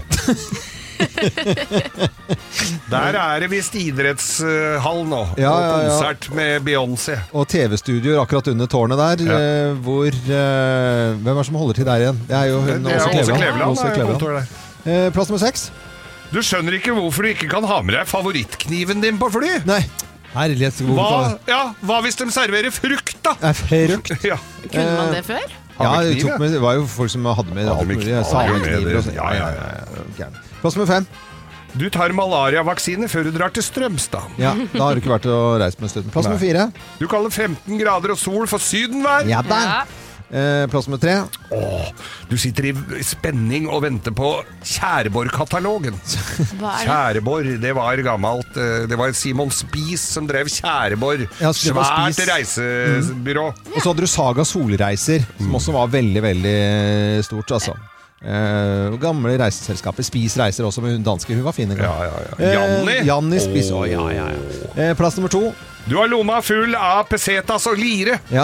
Der er det visst idrettshall nå,
Ja, ja,
og
ja.
konsert med Beyoncé.
Og TV-studioer akkurat under tårnet der, eh, hvor eh, Hvem er det som holder til der igjen? Det er jo hun
Det er
Åse
Åse
Kleveland.
Kleveland,
Åse
det er
Kleveland.
kontor der.
Eh, Plass nummer seks.
Du skjønner ikke hvorfor du ikke kan ha med deg favorittkniven din på fly?
Nei. Herlighet, så god
Hva, ja, hva hvis de serverer frukt, da?
Det er frukt.
Ja.
Kunne
Eh,
man det før?
Ja,
Har vi
det,
kniv,
tok
ja?
med, det var jo folk som hadde med alt mulig. Salekniver og sånn. Ja, ja, ja. gæren. Plass nummer fem.
Du tar malariavaksine før du drar til Strømstad.
Ja, da har du ikke vært og reist på en stund. Plass nummer
Nei.
fire.
Du kaller 15 grader og sol for sydenvær.
Ja da. Eh, plass nummer tre.
Åh, du sitter i spenning og venter på Kjæreborg-katalogen.
Hva er det?
Kjæreborg, det var gammelt. eh, Det var Simon Spies som drev Kjæreborg.
Ja, det var
Svært
Spies.
reisebyrå.
Og så hadde du Saga Solreiser,
Mm.
som også var veldig, veldig stort, altså. Eh, og gamle reiseselskapet Spis Reiser også, med hun danske. Hun var fin en gang.
Janni?
Mhm. Eh, Janni Spis.
Åh.
Å, ja, ja, ja. Eh, plass nummer to.
Du har lomma full av pesetas og lire.
Ja. [LAUGHS]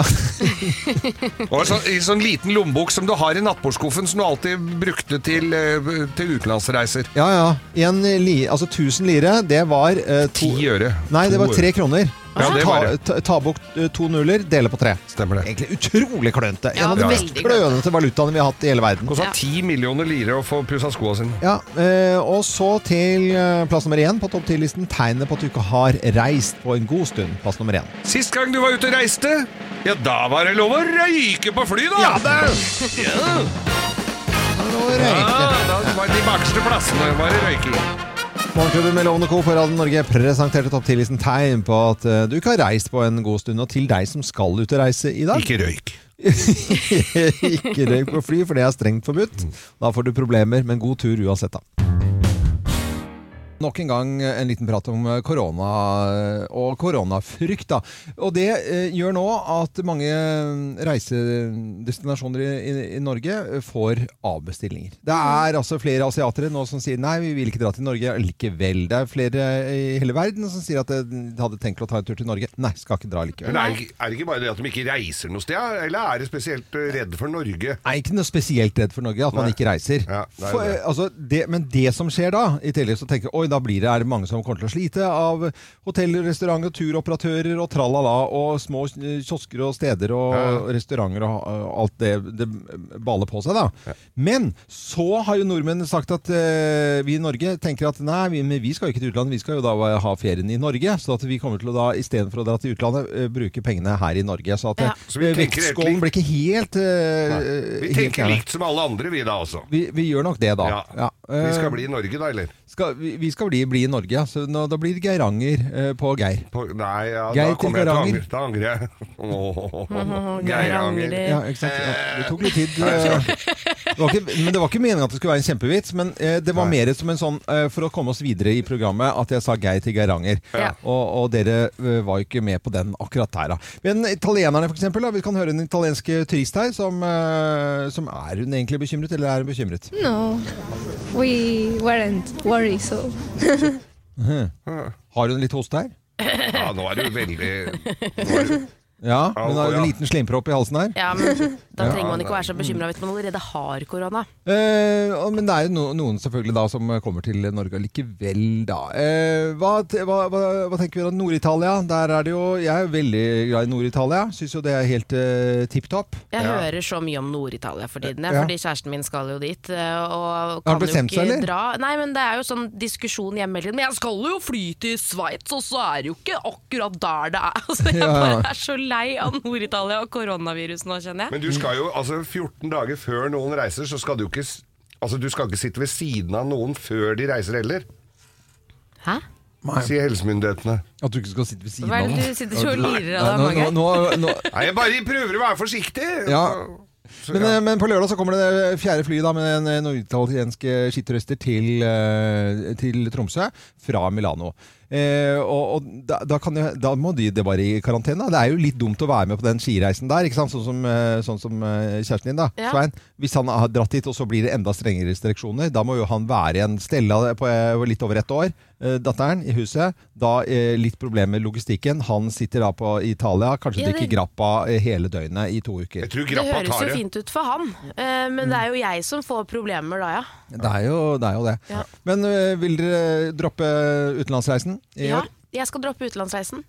Og så, I sånn liten lommebok som du har i nattbordskuffen, som du alltid brukte til, eh, til utenlandsreiser.
Ja, ja. En li, altså 1000 lire, det var eh, to-
Ti øre.
Nei, det
To
var tre
øre.
kroner.
Ja,
Så
det var
ta,
det.
ta, ta bort eh, to nuller, dele på tre.
Stemmer det.
Egentlig utrolig klønete. En
Ja,
av de
veldig
mest klønete valutaene vi har hatt i hele verden.
Kosta ti millioner lire å få pussa skoa sine.
Ja, eh, Og så til eh, plass nummer én på topp 10-listen. Tegnet på at du ikke har reist på en god stund. Plass nummer én.
Sist gang du var ute og reiste, ja, da var det lov å røyke på fly, da! Ja, det. Ja. Ja, Ah, da var de bakerste plassene var det røyking.
Morgenklubben med Lovende Co. på Radio Norge presenterte topp 10-listen tegn på at eh, du ikke har reist på en god stund. Og til deg som skal ut og reise i dag
Ikke røyk.
[LAUGHS] ikke røyk på fly, for det er strengt forbudt. Da får du problemer, men god tur uansett, da. Nok en gang en liten prat om eh, korona eh, og koronafrykt. da. Og Det eh, gjør nå at mange eh, reisedestinasjoner i, i, i Norge eh, får avbestillinger. Det er altså flere asiatere nå som sier nei, vi vil ikke dra til Norge likevel. Det er flere i hele verden som sier at eh, de hadde tenkt å ta en tur til Norge. Nei, skal ikke dra likevel.
Men er, det ikke- er det ikke bare det at de ikke reiser noe sted, eller er de spesielt eh, redde for Norge?
er ikke noe spesielt redd for Norge, at man
Nei.
ikke reiser.
det er
For,
det.
eh, altså, det, men det som skjer da, i tillegg så tenker jeg, oi, da blir det, er det mange som kommer til å slite av hoteller, restauranter, turoperatører og tralala, og små eh, kiosker og steder og restauranter og eh, alt det, det eh, baler på seg da. Men så har jo nordmenn sagt at eh, vi i Norge tenker at nei, vi, men vi skal jo ikke til utlandet, vi skal jo da ha ferien i Norge, så at vi kommer til å da, i stedet for å dra til utlandet, eh, bruke pengene her i Norge. Så at eh,
Så vi tenker helt
vektskålen
likt.
blir ikke helt eh,
Vi
helt
tenker
gjerne.
likt som alle andre, vi da også.
Vi, vi gjør nok det, da.
Ja.
Ja.
Vi
Eh,
skal bli i Norge, da, eller?
skal, vi, vi skal bli, bli i Norge, ja. Så nå, da blir det Geiranger eh, på Geir.
På, nei, ja,
Geir
da
til
kommer jeg til å
Geiranger.
angre. Da angrer jeg. [LAUGHS] Åh,
Geir
Geir
angrer.
angrer.
Ja, ikke sant? Ja, det tok litt tid. eh. Det var ikke, men det var ikke meningen at det skulle være en kjempevits, men eh, det var mer som en sånn eh, for å komme oss videre i programmet at jeg sa Geir til Geiranger.
Ja.
Og, og dere eh, var jo ikke med på den akkurat der, da. Men italienerne, for eksempel. Da, vi kan høre en italiensk turist her som, eh, som Er hun egentlig bekymret, eller er hun bekymret?
No, we weren't worried, so.
Har hun litt hoste her?
Ja, nå er du veldig
Ja, hun har
ja.
en liten slimpropp i halsen her.
Ja,
[LAUGHS]
men Da
Ja.
trenger man ikke å være så bekymra hvis man allerede har korona.
Eh, og- men det er jo no, noen selvfølgelig da som kommer til Norge likevel, da. Eh, hva, t- hva, hva, hva tenker vi om Nord-Italia? Der er det jo Jeg er jo veldig glad i Nord-Italia. Syns jo det er helt uh, tipp topp.
Jeg hører så mye om Nord-Italia for tiden, jeg,
Ja.
fordi kjæresten min skal jo dit. eh, Og kan
Har han bestemt
jo ikke
seg, eller?
Dra. Nei, men det er jo sånn diskusjon hjemme hele tiden. Men jeg skal jo fly til Sveits, og så er det jo ikke akkurat der det er. [LAUGHS] Altså, jeg
Ja, ja.
bare er så lei av Nord-Italia og koronavirus nå, kjenner jeg.
Men du skal jo, altså 14 dager før noen reiser, så skal du ikke s- Altså, du skal ikke sitte ved siden av noen før de reiser heller.
Hæ?
Sier helsemyndighetene.
At du ikke skal sitte ved siden
Hva er
av
det
noen.
du sitter så og lirer
Nei,
av deg,
nå- nå- nå- nå-
Nei, jeg bare prøver å være forsiktig.
Ja. Men, eh, men på lørdag så kommer det fjerde fly da, med en eh, norditaliensk eh, skittrøster til, eh, til Tromsø fra Milano. Eh, og og da, da, kan jo, da må de det bare i karantene. da. Det er jo litt dumt å være med på den skireisen der, ikke sant? Sånn, som, eh, sånn som eh, kjæresten din, da,
Ja.
Svein. Hvis han har dratt dit, og så blir det enda strengere restriksjoner, da må jo han være igjen Stella på eh, litt over ett år. eh, Datteren i huset. Da eh, litt problemer med logistikken. Han sitter da på i Italia, kanskje
Ja,
drikker
det-
grappa eh, hele døgnet i to uker. Jeg
Det høres jo fint ut for han, eh, men det
Mm.
er jo jeg som får problemer da, ja.
Det er jo det. Er jo det.
Ja.
Men ø, vil dere droppe utenlandsreisen i
ja.
år?
Jeg skal droppe utenlandsreisen.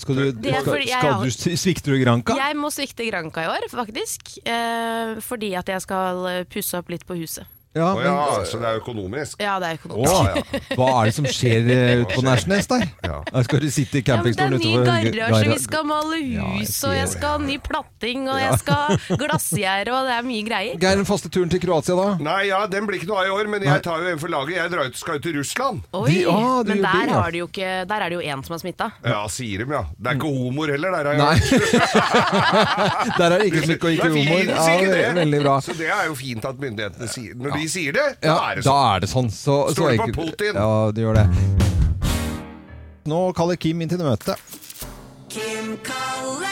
Skal du,
Det er
skal,
fordi jeg
skal
har-
du svikte du Granca?
Jeg må svikte Granca i år, faktisk. Eh, fordi at jeg skal eh, pusse opp litt på huset.
Ja,
Å
men-
ja, så det er økonomisk.
Ja, det er økonomisk.
Å, [LAUGHS] Hva er det som skjer ø, ute på Nærsnes der? Da Skal du sitte i
Ja, men det er
campingstolen
ny
utenfor
garasje, vi
garasje?
skal male hus,
ser
og jeg
det.
skal ha ny platting, og
Ja.
jeg skal ha glassgjerde, og det er mye greier.
Geir, den faste turen til Kroatia, da?
Nei, ja, den blir ikke noe av i år, men jeg tar jo en for laget. Jeg drar ut, skal jo til Russland.
Oi, men der,
ja.
har de jo ikke, der er det jo én som er smitta.
Ja, sier dem, ja. Det er ikke homoer heller, der. Har
Mm.
jeg
Nei. [LAUGHS] Der er det ikke slik og ikke
Det er
humor.
fint,
Ja,
sier
det
det.
er veldig bra.
Så det er jo fint at myndighetene sier Når de sier det,
Ja,
da er det
da
sånn.
er det sånn. Så, så
Stoler på
enkelt.
Putin.
Ja, det gjør det. Nå kaller Kim inn til møte.
Kim kaller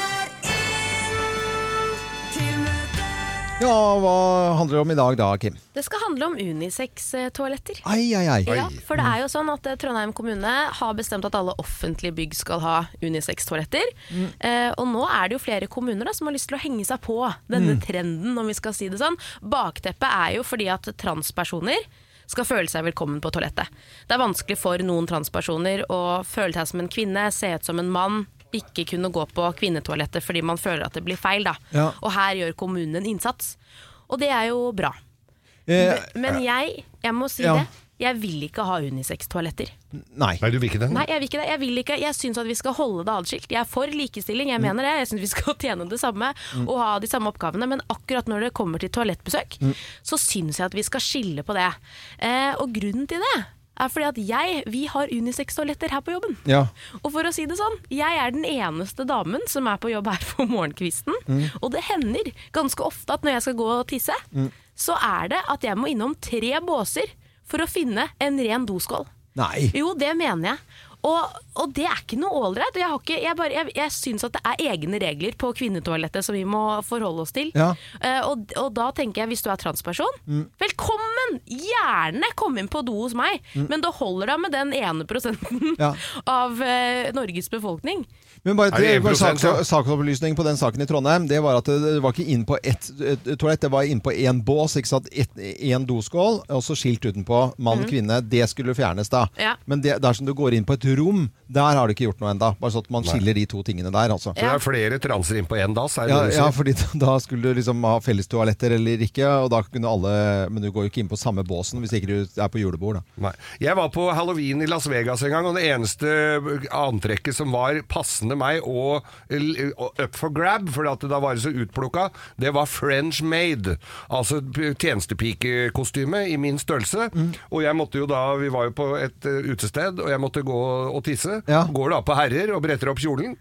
Ja, hva handler det om i dag da, Kim?
Det skal handle om eh, unisex-toaletter.
Ai, ai, ai.
Ja, for det er jo sånn at eh, Trondheim kommune har bestemt at alle offentlige bygg skal ha unisex-toaletter. Eh, og nå er det jo flere kommuner da, som har lyst til å henge seg på denne
Mm.
trenden, om vi skal si det sånn. Bakteppet er jo fordi at transpersoner skal føle seg velkommen på toalettet. Det er vanskelig for noen transpersoner å føle seg som en kvinne, se ut som en mann, ikke kunne gå på kvinnetoalettet fordi man føler at det blir feil. Da.
Ja.
Og her gjør kommunen en innsats. Og det er jo bra.
Eh,
Men jeg, jeg må si
Ja.
det. Jeg vil ikke ha unisex-toaletter.
Nei.
Nei, du vil ikke det?
Nei, Jeg vil ikke det. Jeg, vil ikke. jeg syns at vi skal holde det adskilt. Jeg er for likestilling, jeg
Mm.
mener det. Jeg syns vi skal [LAUGHS] tjene det samme
Mm.
og ha de samme oppgavene. Men akkurat når det kommer til toalettbesøk,
Mm.
så syns jeg at vi skal skille på det. Eh, og grunnen til det er fordi at jeg, vi har unisex-toaletter her på jobben.
Ja.
Og for å si det sånn, jeg er den eneste damen som er på jobb her på morgenkvisten.
Mm.
Og det hender ganske ofte at når jeg skal gå og tisse,
Mm.
så er det at jeg må innom tre båser for å finne en ren doskål.
Nei.
Jo, det mener jeg. Og, og det er ikke noe ålreit. og Jeg, har ikke- jeg, bare- jeg, jeg syns at det er egne regler på kvinnetoalettet som vi må forholde oss til.
Ja.
Eh, og, og da tenker jeg, hvis du er transperson,
Mm.
velkommen! Gjerne kom inn på do hos meg,
Mm.
men det holder da med den ene prosenten
Ja.
[LAUGHS] av eh, Norges befolkning.
Men bare,
Er det
det, bare sak,
1%, ja?
saksopplysning på den saken i Trondheim. Det var at det, det var ikke inn på ett et, toalett, det var inn på én bås. ikke sant? Et- Én doskål, og så skilt utenpå mann,
Mhm.
kvinne. Det skulle fjernes da.
Ja.
Men det, dersom du går inn på et rom, der har du ikke gjort noe enda. Bare sånn at man
Nei.
skiller de to tingene der, altså.
Så det er flere transer inn på én dass? er det
Ja,
det du
ja,
sier?
fordi [LAUGHS] da- da skulle du liksom ha felles toaletter eller ikke, og da kunne alle Men du går jo ikke inn på samme båsen hvis ikke du er på julebord, da.
Nei. Jeg var på halloween i Las Vegas en gang, og det eneste antrekket som var passende meg og, og up for grab, for at da var det så utplukka, det var French made. Altså p- tjenestepikekostyme i min størrelse. Og jeg måtte jo da Vi var jo på et eh, utested, og jeg måtte gå og tisse. Går da på herrer og bretter opp kjolen.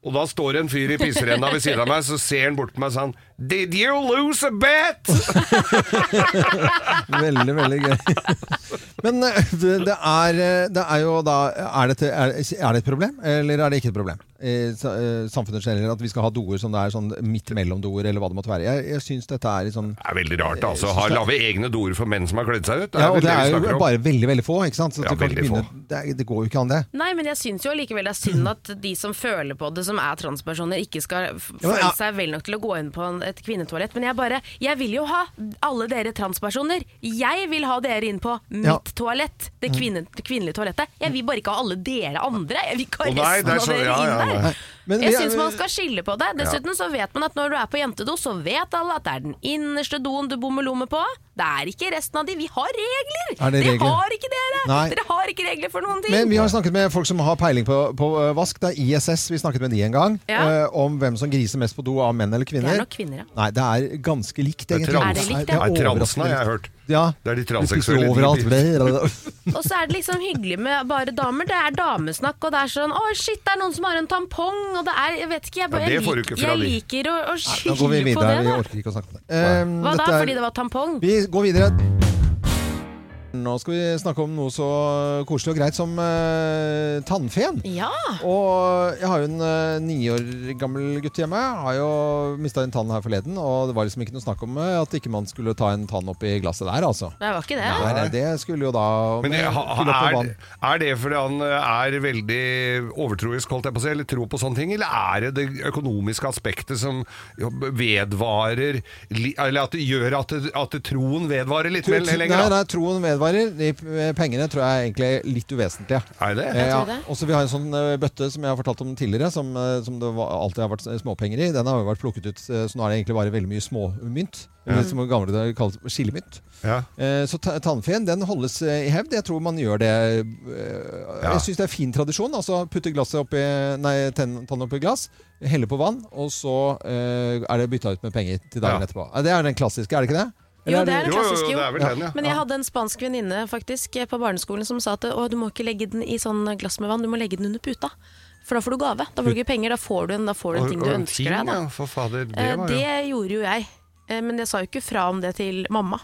Og da står en fyr i pisserenna ved siden av meg, så ser han bort på meg og sånn Did you lose a bet?
Veldig, veldig gøy. [LAUGHS] Men eh, det det er, eh, det er jo da er det, et- er, er det et problem, eller er det ikke et problem? Eh, sa- eh, Samfunnet generelt, at vi skal ha doer som det er sånn midt mellom doer, eller hva det måtte være. Jeg, jeg syns dette er litt sånn
Det er veldig rart, altså. Har lave egne doer for menn som har kledd seg ut.
ja, og
vel
det er
vi
jo
snakker om.
bare veldig, veldig få, ikke sant? Så
Ja,
du kan ikke
veldig få.
begynne- det, er- det går jo ikke an, det.
Nei, men jeg syns jo allikevel det er synd at de som føler på det, som er transpersoner, ikke skal f-
Ja, men,
føle
ja.
seg vel nok til å gå inn på en- et kvinnetoalett. Men jeg bare Jeg vil jo ha alle dere transpersoner. Jeg vil ha dere inn på mitt
Ja.
toalett.
Mm.
Det, kvinne, det kvinnelige toalettet. Jeg vil bare ikke ha alle dere andre. Jeg vil ikke ha
Å, nei,
resten
det er
av
så-
dere
ja, ja,
inn der.
nei. Men
jeg
vi er-
syns man skal skille på det. Dessuten så vet man at når du er på jentedo, så vet alle at det er den innerste doen du bommer lomme på. Det er ikke resten av de. Vi har regler!
Er det regler?
Dere har ikke dere!
Nei.
Dere har ikke regler for noen ting!
Men vi har snakket med folk som har peiling på, på eh, vask. Det er ISS vi snakket med de en gang.
Ja.
eh, om hvem som griser mest på do av menn eller
det
kvinner.
er nok kvinner, ja.
Nei, det er ganske likt,
Det er
egentlig.
trans- Er det likt, ja? Det er transene, jeg har hørt.
Ja.
Det er de
Du
transseksuelle.
pisser overalt.
[LAUGHS] Og så er det liksom hyggelig med bare damer. Det er damesnakk, og det er sånn 'Å, shit, det er noen som har en tampong', og det er Jeg vet ikke, jeg,
Ja,
bare-
det
jeg,
får du
lik-
ikke fra
jeg
de.
liker å, å
Da går vi
skylde på
videre. Vi
det, da.
orker ikke å snakke om det. Um,
Hva da?
dette er-
Fordi det var tampong?
Vi går videre. Nå skal vi snakke om noe så koselig og greit som eh, tannfeen.
Ja.
Og jeg har jo en eh, ni år gammel gutt hjemme. Har jo mista en tann her forleden, og det var liksom ikke noe snakk om eh, at ikke man skulle ta en tann oppi glasset der, altså.
Nei, det var ikke det.
Nei, nei, det skulle jo da
Men jeg, ha,
fylle opp med
er,
vann.
er det fordi han eh, er veldig overtroisk, holdt jeg på å si, eller tror på sånne ting, eller er det det økonomiske aspektet som jo vedvarer, li- eller at det gjør at, det- at det troen vedvarer litt vel,
Nei,
lenger? da?
nei, troen vedvarer. De eh, pengene tror jeg er egentlig er litt uvesentlige.
Er det?
Eh,
Jeg
ja.
tror det.
Og så vi har en sånn eh, bøtte som jeg har fortalt om tidligere, som, eh, som det var, alltid har vært eh, småpenger i. Den har jo vært plukket ut, eh, så nå er det egentlig bare veldig mye småmynt.
Ja.
eller Som gamle det kalles skillemynt.
Ja.
Eh, Så ta- tannfeen den holdes eh, i hevd. Jeg tror man gjør det eh, Jeg syns det er fin tradisjon. Altså putte glasset oppi Nei, tenn- tann oppi glass, helle på vann, og så eh, er det bytta ut med penger til dagen
Ja.
etterpå. Eh, Det er den klassiske, er det ikke det?
Jo,
Eller
det er en klassisk jo.
Ja.
Men jeg hadde en spansk venninne faktisk på barneskolen som sa at å, du må ikke legge den i sånn glass med vann, du må legge den under puta. For da får du gave. Da får du ikke penger, da får du en, da får du en ting du ønsker deg. Da.
Ja, for fader, det
Eh,
var jo...
Det gjorde jo jeg, Eh, men jeg sa jo ikke fra om det til mamma.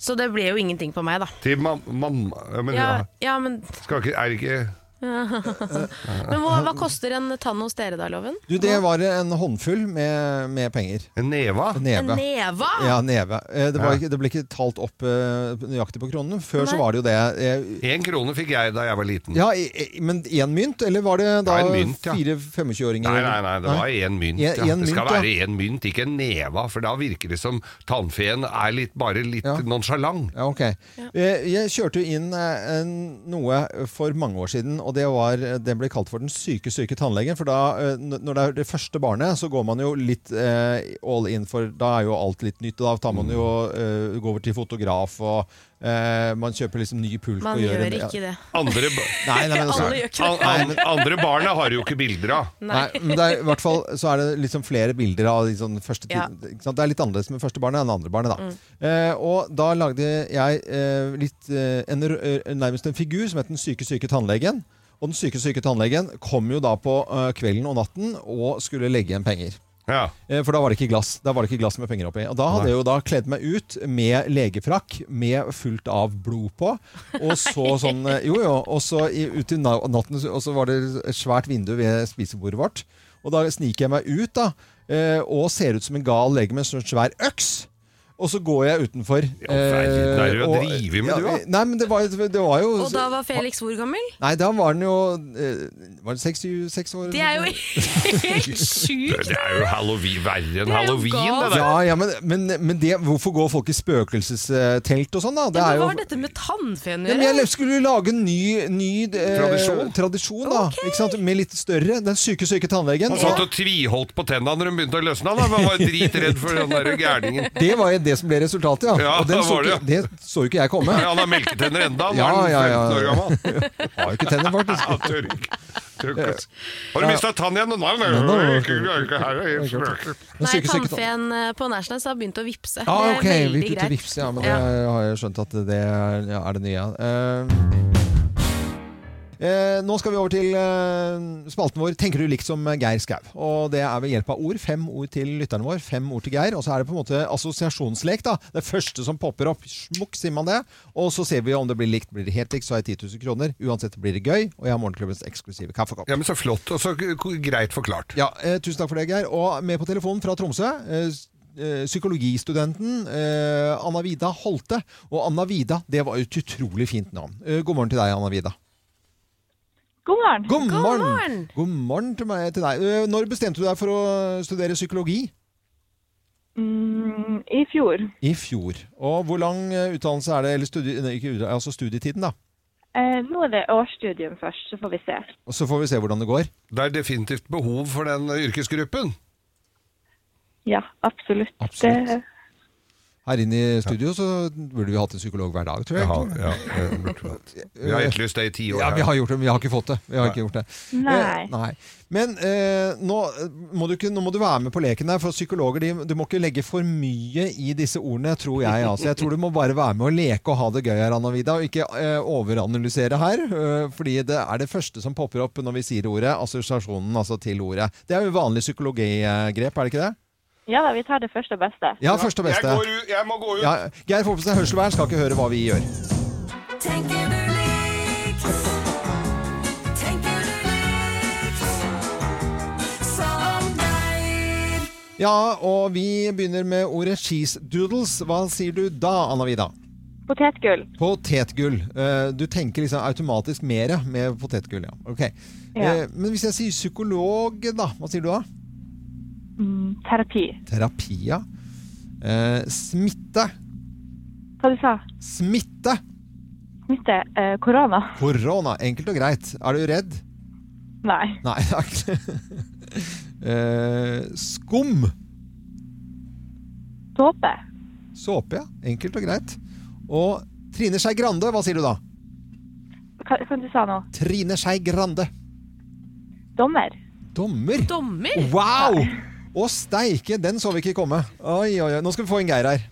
Så det ble jo ingenting på meg, da.
Til mam- mamma... Ja, men,
Ja,
ja.
ja, men
Skal ikke... Er det ikke...
Men hva, hva koster en tann hos dere da, Loven?
Du, det var en håndfull med, med penger.
En neve?
En neva?
Ja, neve. Eh, Det,
Ja.
var ikke, det ble ikke talt opp eh, nøyaktig på kronen. Før så
Nei.
var det jo det eh,
En krone fikk jeg da jeg var liten.
Ja, i- i- men én mynt, eller var det da
Ja, en mynt, ja.
fire 25-åringer?
Nei, nei, nei, det var én mynt.
Ja,
Ja.
en
det skal
mynt, ja.
være én mynt, ikke en neva, for da virker det som tannfeen er litt, bare litt nonsjalant.
Ja, ok. Eh, Jeg kjørte jo inn eh, en, noe for mange år siden, og det var, eh, det ble kalt for den syke, syke tannlegen. For da, eh, n- når det er det første barnet, så går man jo litt eh, all in for Da er jo alt litt nytt, og da tar man jo eh, går over til fotograf, og eh, man kjøper liksom ny pulk. og
Man
gjør,
gjør
en-
ikke det.
Andre,
[LAUGHS]
ba
Nei, nei, men altså-
Alle gjør ikke
An-
det.
an- andre barna har jo ikke bilder av.
Nei. men det er, i hvert fall så er det liksom flere bilder av liksom første
Ja.
tiden. Ikke sant? Det er litt annerledes med første barnet enn andre barnet. Da.
Mm.
Eh, og da lagde jeg eh, litt, eh, en, r- eh, nærmest en figur som het Den syke, syke tannlegen. Og den syke, syke tannlegen kom jo da på eh, kvelden og natten og skulle legge igjen penger. Eh, For da var det ikke glass Da var det ikke glass med penger oppi. Og da hadde
Nei.
jeg jo da kledd meg ut med legefrakk med fullt av blod på. Og
[LAUGHS]
så sånn eh, Jo, jo. Og så i- ut i na- natten, så- og så var det et svært vindu ved spisebordet vårt. Og da sniker jeg meg ut, da. eh, Og ser ut som en gal lege med en sånn svær øks. Og så går jeg utenfor.
verden, er det
eh,
du
og-
driver med, du, da?
Nei, men det var, det var jo
Og da var Felix hvor gammel?
Nei, da var den jo eh, Var det seks seks år?
Det er jo
[LAUGHS]
helt sjukt!
Det er jo halloween, verre enn
Det er jo
halloween, det der.
Ja, ja, men, men, men det, hvorfor går folk i spøkelsestelt og sånn, da? Det er
Ja, men
jo
hva har dette med tannfeen å
ja, men
gjøre?
jeg skulle lage en ny, ny eh,
Tradisjon.
tradisjon da, ikke sant? med litt større. Den syke, syke tannlegen.
Han satt og tviholdt på tennene når de begynte å løsne. Da. Man var dritredd for den der gærningen.
Det var jo det som ble resultatet, ja.
Ja,
og den så
var
ikke,
det,
det så jo ikke jeg komme.
Nei, han har melketenner enda, nå er han 15 år gammel.
Har jo ikke tenner, faktisk.
Ja, tørk. Tørk, altså. Har du
Ja.
mista tann igjen? Nei, nei,
Nei, nei, nei.
ikke- ikke her, jeg er spøker.
Nei, tannfeen eh, på Nashnes har begynt å vippse.
Ja,
Det er
Ah, ok, vi
veldig
putter
greit.
vips, ja, men det
Ja.
har jeg skjønt at det er, ja, er det nye. Eh, eh, nå skal vi over til eh, spalten vår Tenker du likt som Geir Skau? Og det er ved hjelp av ord. Fem ord til lytteren vår, fem ord til Geir. Og så er det på en måte assosiasjonslek. da Det første som popper opp, smukk, sier man det. Og så ser vi om det blir likt. Blir det helt likt, så har jeg 10 000 kroner. Uansett blir det gøy, og jeg har Morgenklubbens eksklusive kaffekopp.
Ja, men Så flott og så k- greit forklart.
Ja, eh, tusen takk for det, Geir. Og med på telefonen fra Tromsø, eh, s- eh, psykologistudenten eh, Anna Vida Holte. Og Anna Vida, det var jo et utrolig fint navn. Eh, god morgen til deg, Anna Vida.
God morgen.
God morgen! God morgen til, meg, til deg. Eh, når bestemte du deg for å studere psykologi?
Mm, I fjor.
I fjor. Og hvor lang eh, utdannelse er det, eller studie, nei, ikke, utdannelse, altså studietiden, da?
Eh, nå er det årsstudium først, så får vi se.
Og så får vi se hvordan det går.
Det er definitivt behov for den yrkesgruppen.
Ja, absolutt.
Absolutt.
Det,
her inne i studio, så burde vi hatt en psykolog hver dag, tror jeg.
Ja, Vi har etterlyst det i ti år.
Ja, vi har gjort det, men vi har ikke fått det. Vi har ikke gjort det.
Nei.
Eh, nei. Men eh, nå, må du ikke, nå må du være med på leken der, for psykologer de, du må ikke legge for mye i disse ordene, tror jeg. Altså. Jeg tror du må bare være med og leke og ha det gøy her, Anna Vida, og ikke eh, overanalysere her. Eh, fordi det er det første som popper opp når vi sier ordet, assosiasjonen altså til ordet. Det er jo vanlig psykologigrep, er det ikke det?
Ja da, vi tar det første og beste.
Ja, første og beste.
Jeg, går ut, jeg må gå ut.
Ja, Geir Foppesen er hørselvern, skal ikke høre hva vi gjør.
Tenker du likt? Tenker du likt som deg?
Ja, og vi begynner med ordet cheese doodles. Hva sier du da, Anna Vida?
Potetgull.
Potetgull. Eh, Du tenker liksom automatisk mer med potetgull, ja. Ok.
Ja.
Eh, Men hvis jeg sier psykolog, da, hva sier du da?
Mm, terapi.
Terapi, ja. Eh, Smitte.
Hva du sa
Smitte.
Smitte? Eh, korona?
Korona. Enkelt og greit. Er du redd?
Nei.
Nei, [LAUGHS] takk. Eh, Skum.
Såpe?
Såpe, ja. Enkelt og greit. Og Trine Skei Grande, hva sier du da?
Hva, hva du sa nå?
Trine Skei Grande.
Dommer?
Dommer?
Dommer?
Wow! Å steike, den så vi ikke komme. Oi, oi, oi. Nå skal vi få en Geir her.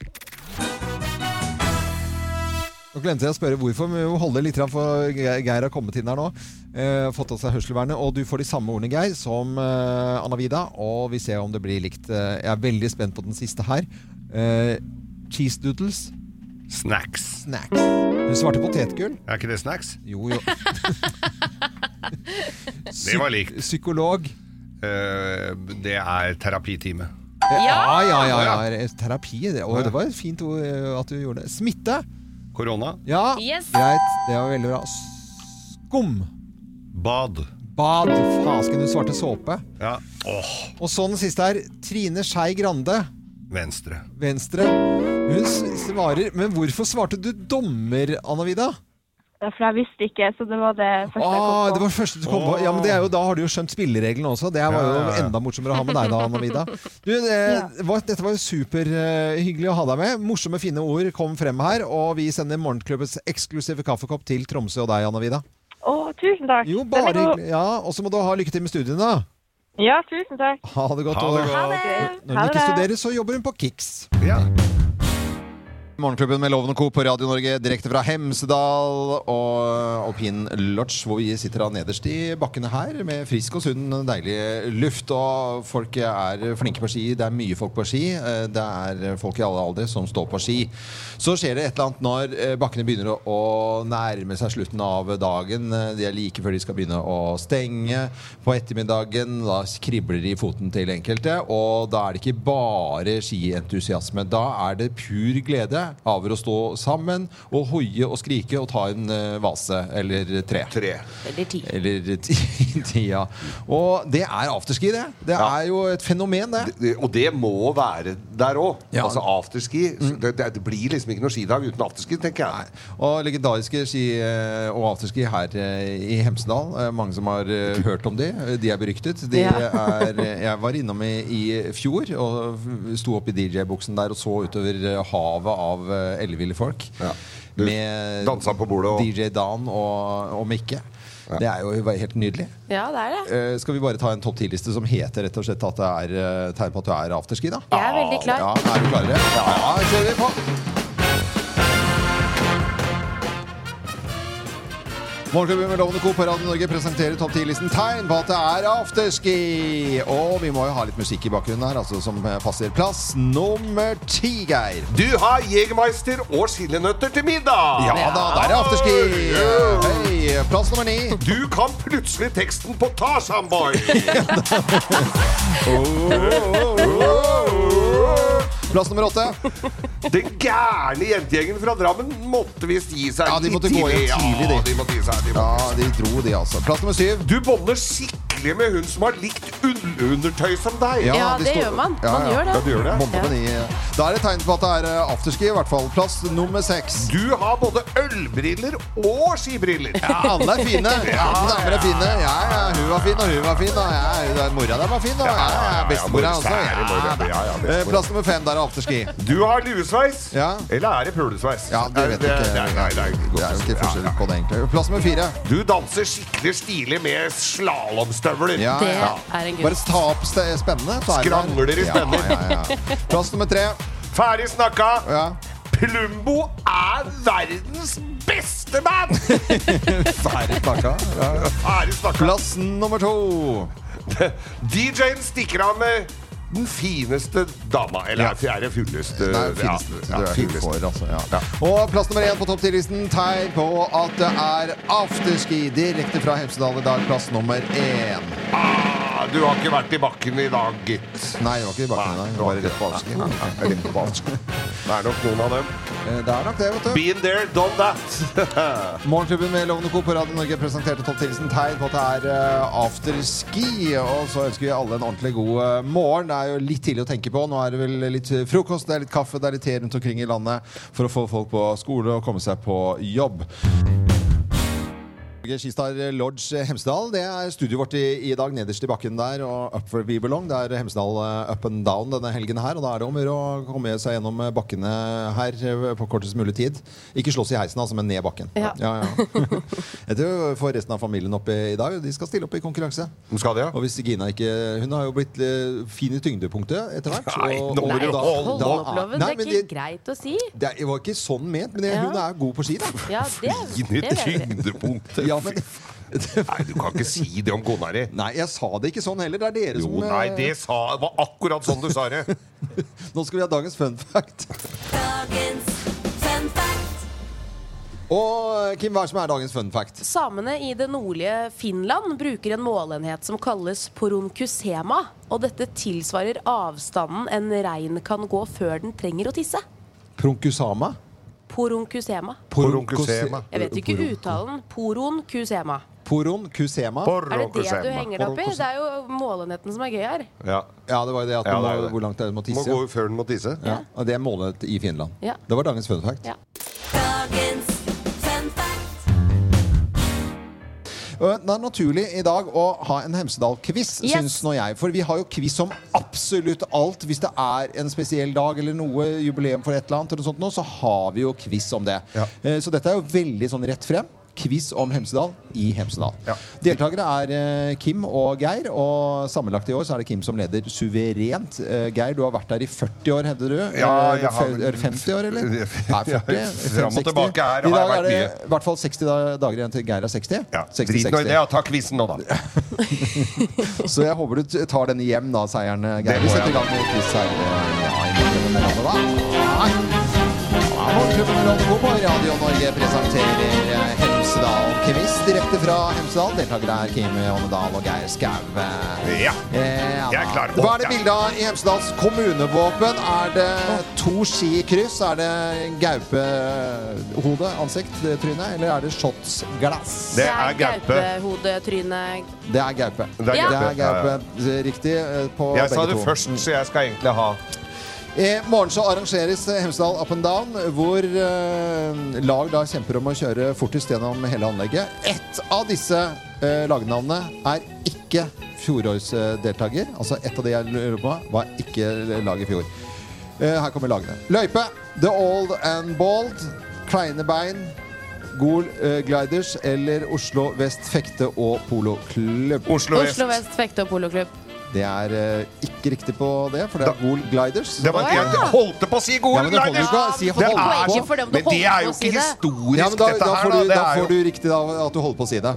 Nå glemte jeg å spørre hvorfor, men vi må holde litt grann for Ge- Geir har kommet inn her nå. Eh, fått av seg hørselvernet, og du får de samme ordene, Geir, som eh, Anna Vida. Og vi ser om det blir likt. Eh, jeg er veldig spent på den siste her. Eh, cheese doodles.
Snacks.
Snacks. Du svarte potetgull.
Er ikke det snacks?
Jo, jo.
Det var likt. Eh,
Psykolog.
det er terapitime.
Ja, ja, ja. ja. Terapi. Det, og det var et fint ord eh, at du gjorde det. Smitte.
Korona.
Ja,
Yes.
greit. Det var veldig bra. Skum.
Bad.
Bad. Fasken, du svarte såpe.
Ja. Åh,
Og så den siste her. Trine Skei Grande.
venstre.
Venstre. Hun s- svarer Men hvorfor svarte du dommer, Anna Vida?
Ja, For jeg visste ikke, så det var det første jeg
Ah, det
kom på.
var det første du kom på. Ja, men det er jo, Da har du jo skjønt spillereglene også. Det var
Ja,
jo
ja, ja.
enda morsommere å ha med deg da, Anna Vida. Du, det, var, dette var jo superhyggelig å ha deg med. Morsomme, fine ord kom frem her. Og vi sender Morgenklubbens eksklusive kaffekopp til Tromsø og deg, Anna Vida.
Å, tusen takk.
Jo,
Den
bare
er god.
hyggelig. Ja, og så må du ha lykke til med studiene. da.
Ja, tusen takk.
Ha det godt.
Ha det
og-
godt. Ha det.
Når
Ha det
hun ikke
bra.
studerer, så jobber hun på Kix.
Ja.
Morgenklubben med Loven og Co. på Radio Norge direkte fra Hemsedal og Alpin Lodge, hvor vi sitter da nederst i bakkene her med frisk og sunn, deilig luft. Og folk er flinke på ski. Det er mye folk på ski. Eh, Det er folk i alle aldre som står på ski. Så skjer det et eller annet når eh, bakkene begynner å- å nærme seg slutten av dagen. Eh, De er like før de skal begynne å stenge. På ettermiddagen da kribler de i foten til enkelte, og da er det ikke bare skientusiasme. Da er det pur glede over å stå sammen og hoie og skrike og ta en eh, vase eller tre.
Eller ti.
Eller ti, [LAUGHS] tida. Og det er afterski, det. Det er jo et fenomen, det.
Og det må være der òg.
Ja. Mm.
Altså afterski. Det, det, det blir liksom ikke noe skidag uten afterski, tenker jeg.
Og legendariske ski- eh, og afterski her eh, i Hemsedal. Eh, Mange som har eh, hørt om de. Eh, De er beryktet. De
Ja.
er, eh, jeg var innom i, i fjor og f- sto opp i DJ-buksen der og så utover eh, havet av eh, elleville folk. Med
dansa på bordet og-
DJ Dan og, og Mikke. Det er jo helt nydelig.
Ja, det er det.
Eh, skal vi bare ta en topp 10-liste som heter rett og slett at det er eh, tegn på at du er afterski, da?
Jeg er veldig klar.
Ja, er du klarere? Ja, kjører vi på! Morgenklubben med Lovende Co. på Radio Norge presenterer topp 10-listen tegn på at det er afterski. Og vi må jo ha litt musikk i bakgrunnen her, altså som eh, passer plass. Nummer ti, Geir.
Du har Jegermeister og chilinøtter til middag!
Ja da, der er afterski! Hei, plass nummer ni.
Du kan plutselig teksten på Tarzan
[LAUGHS]
Boy!
Plass nummer åtte.
Den gærne jentegjengen fra Drammen måtte visst gi seg.
Ja, de måtte gå hjem tidlig, de.
Ja, de måtte gi seg. De måtte.
Ja, de dro, de, altså. Plass nummer syv.
Du boller skikkelig
hyggelig med hun som har likt ullundertøy som deg.
Ja, Ja, de det store- gjør man. Ja, Man ja. gjør det.
Ja, du gjør det.
Bombe på de, ja. Da er det tegn på at det er eh, afterski, i hvert fall. Plass nummer seks.
Du har både ølbriller og skibriller.
Ja, alle er [LAUGHS] fine. Alle damer er fine. Ja, ja, hun var fin, og hun var fin. Og ja, hun der, mora der var fin, og ja, ja, ja, bestemora også.
Ja, ja,
Ja,
ja, ja, ja,
da. Eh, Plass nummer fem, der er afterski.
Du har luesveis,
Ja.
eller er det pulesveis?
Ja, det vet jeg ikke.
Nei, nei, nei,
Det er jo ikke forskjell på det, egentlig. Plass nummer fire.
Du danser skikkelig stilig med slalåmstøvler.
Ja, Det ja.
er en
Bare ta opp ste- spennende. ta i den.
Skrangler i spenner.
Ja, ja, ja. Plass nummer tre.
Ferdig snakka.
Ja.
Plumbo er verdens beste band!
[LAUGHS] Ferdig snakka. Ja, ja.
Ferdig snakka.
Plass nummer to.
DJ-en stikker av med den fineste dama. Eller ja. fjerde fulleste.
Nei, fineste.
Ja,
Du
ja,
er
fineste.
for, altså, ja.
Ja.
Og plass nummer én på topp 10-listen tegn på at det er afterski direkte fra Hemsedal i dag. Plass nummer én.
Ah, du har ikke vært i bakken i dag, gitt.
Nei, det var ikke i bakken i dag. Det var rett på afterski.
Nei, nei, nei, rett på afterski. Det er nok noen av dem.
Eh, Det er nok det, vet du.
Been there, done that.
Morgenklubben med Lovende Co. på Radio Norge presenterte topp 10-listen tegn på at det er eh, afterski. Og så ønsker vi alle en ordentlig god eh, morgen. Det er jo litt tidlig å tenke på. Nå er det vel litt frokost, det er litt kaffe, det er litt te rundt omkring i landet for å få folk på skole og komme seg på jobb. Skistar Lodge eh, Hemsedal. Det er studioet vårt i, i dag, nederst i bakken der. Og Up where we belong. Det er Hemsedal eh, up and down denne helgen her. Og da er det om å gjøre å komme seg gjennom eh, bakkene her eh, på kortest mulig tid. Ikke slåss i heisen, altså, men ned bakken.
Ja.
ja. [LAUGHS] Jeg tror vi får resten av familien opp i, i dag. De skal stille opp i konkurranse. Og hvis Gina ikke Hun har jo blitt eh, fin i tyngdepunktet etter hvert.
[LAUGHS] Nei,
og-
nå må
og
du
da-
holde
da-
opp, Loven.
Nei,
Det er
men
ikke
det-
Greit å si.
det er- det var ikke sånn ment, men det,
Ja.
hun er god på ski, da.
Ja, det, det vet vi.
tyngdepunktet.
Ja, men...
Nei, du kan ikke si det om kona di.
Nei, jeg sa det ikke sånn heller. Det er dere
Jo,
som eh,
nei, det sa, var akkurat sånn du
[LAUGHS]
sa det.
Nå skal vi ha dagens fun fact. Og Kim, hva er det som er dagens fun fact?
Samene i det nordlige Finland bruker en målenhet som kalles poronkusema. Og dette tilsvarer avstanden en rein kan gå før den trenger å tisse.
Prunkusama?
Poronkusema.
Porunkusema.
Jeg vet ikke uttalen. Poronkusema.
Porunkusema.
Er det det du henger deg opp i? Det er jo målenheten som er gøy her.
Ja.
det var jo det at du
Ja,
må,
det er det.
hvor langt det er du må tisse.
Må gå før den må tisse.
Ja. Og det er målet i Finland.
Ja.
Det var dagens fun fact.
Ja.
Og Det er naturlig i dag å ha en Hemsedal-quiz, syns nå jeg. For vi har jo quiz om absolutt alt. Hvis det er en spesiell dag eller noe, jubileum for et eller annet, eller noe sånt nå, så har vi jo quiz om det. Eh, Så dette er jo veldig sånn rett frem. Quiz om Hemsedal i Hemsedal. Deltakere er eh, Kim og Geir, og sammenlagt i år så er det Kim som leder suverent. Eh, Geir, du har vært der i 40 år, hevder du?
Ja,
Eh,
jeg har
fe-
vel-
er det 50 år, eller? Nei, 40,
[LAUGHS] Ja,
50,
fram og
60.
tilbake her
I
har
dag
jeg vært
er det
mye.
i hvert fall 60 da- dager igjen til Geir er 60.
Drit nå i det. altså. ja, Ta quizen nå, da.
Så jeg håper du t- tar denne hjem, da, seieren, Geir.
Det
Vi
må
setter
jeg.
i gang med quiz her. Ja, i morgen, men altså, hva? Ja, Morgenklubben med Lovende Co. på Radio Norge presenterer eh, Hemsedal Quiz direkte fra Hemsedal. Deltakere er Kim Ånedal og Geir Skau. Eh,
Ja.
[LAUGHS] ja
Jeg
da.
er klar.
Hva er det bilde av i Hemsedals kommunevåpen? Er det to skikryss? Er det gaupehode, ansikt, det trynet? Eller er det shotsglass?
Gaupehodetryne.
Det er gaupe.
Det er
Ja.
Det er
gaupe. Ja, ja.
gaupe. Riktig eh, på
Jeg sa
begge
det
to.
først, så jeg skal egentlig ha
I morgen så arrangeres eh, Hemsedal Up and Down, hvor eh, lag da kjemper om å kjøre fortest gjennom hele anlegget. Ett av disse eh, lagnavnene er ikke fjorårsdeltaker. Altså ett av de jeg lurer på, var ikke lag i fjor. Eh, her kommer lagene. Løype. The Old and Bald. Kleine bein. Gol eh, Gliders eller Oslo Vest Fekte og Poloklubb.
Oslo Vest Fekte og Poloklubb.
Det er eh, ikke riktig på det, for det er Gol Gliders.
det var,
Å, ja.
Jeg holdt på å si gode
Ja, men det holder
gliders!
jo ikke å si-
Det
holdt på.
er-
Poenget for dem, du
Men det
holdt
er
på
jo
å si
ikke
det. Ja, men
historisk,
da,
dette
da,
her.
får du, da
Det er
får du
jo
riktig da, at du holder på å si det.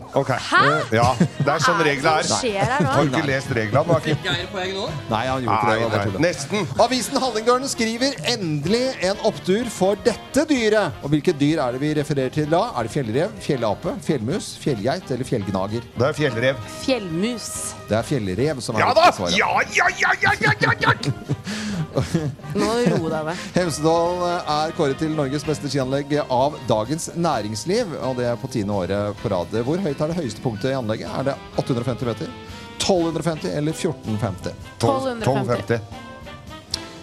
Hæ? Ja, det er sånn reglene er.
Nei.
Du har ikke lest reglene, du har ikke
Nei, han gjorde ikke det. det. var bare
Nei,
tullet.
nei. Nesten.
Avisen Hallingdølen skriver endelig en opptur for dette dyret. Og hvilket dyr er det vi refererer til da? Er det fjellrev, fjellape, fjellmus, fjellgeit eller fjellgnager?
Det er fjellrev.
Fjellmus.
Det er fjellrev som er
Ja
det
da!
riktige svaret.
Ja, ja, ja, ja, ja, ja, ja.
Nå ro deg ned.
Hemsedal eh, er kåret til Norges beste skianlegg av Dagens Næringsliv. Og det er på tiende året på rad. Hvor høyt er det høyeste punktet i anlegget? Er det 850 meter? 1250 eller 1450?
1250.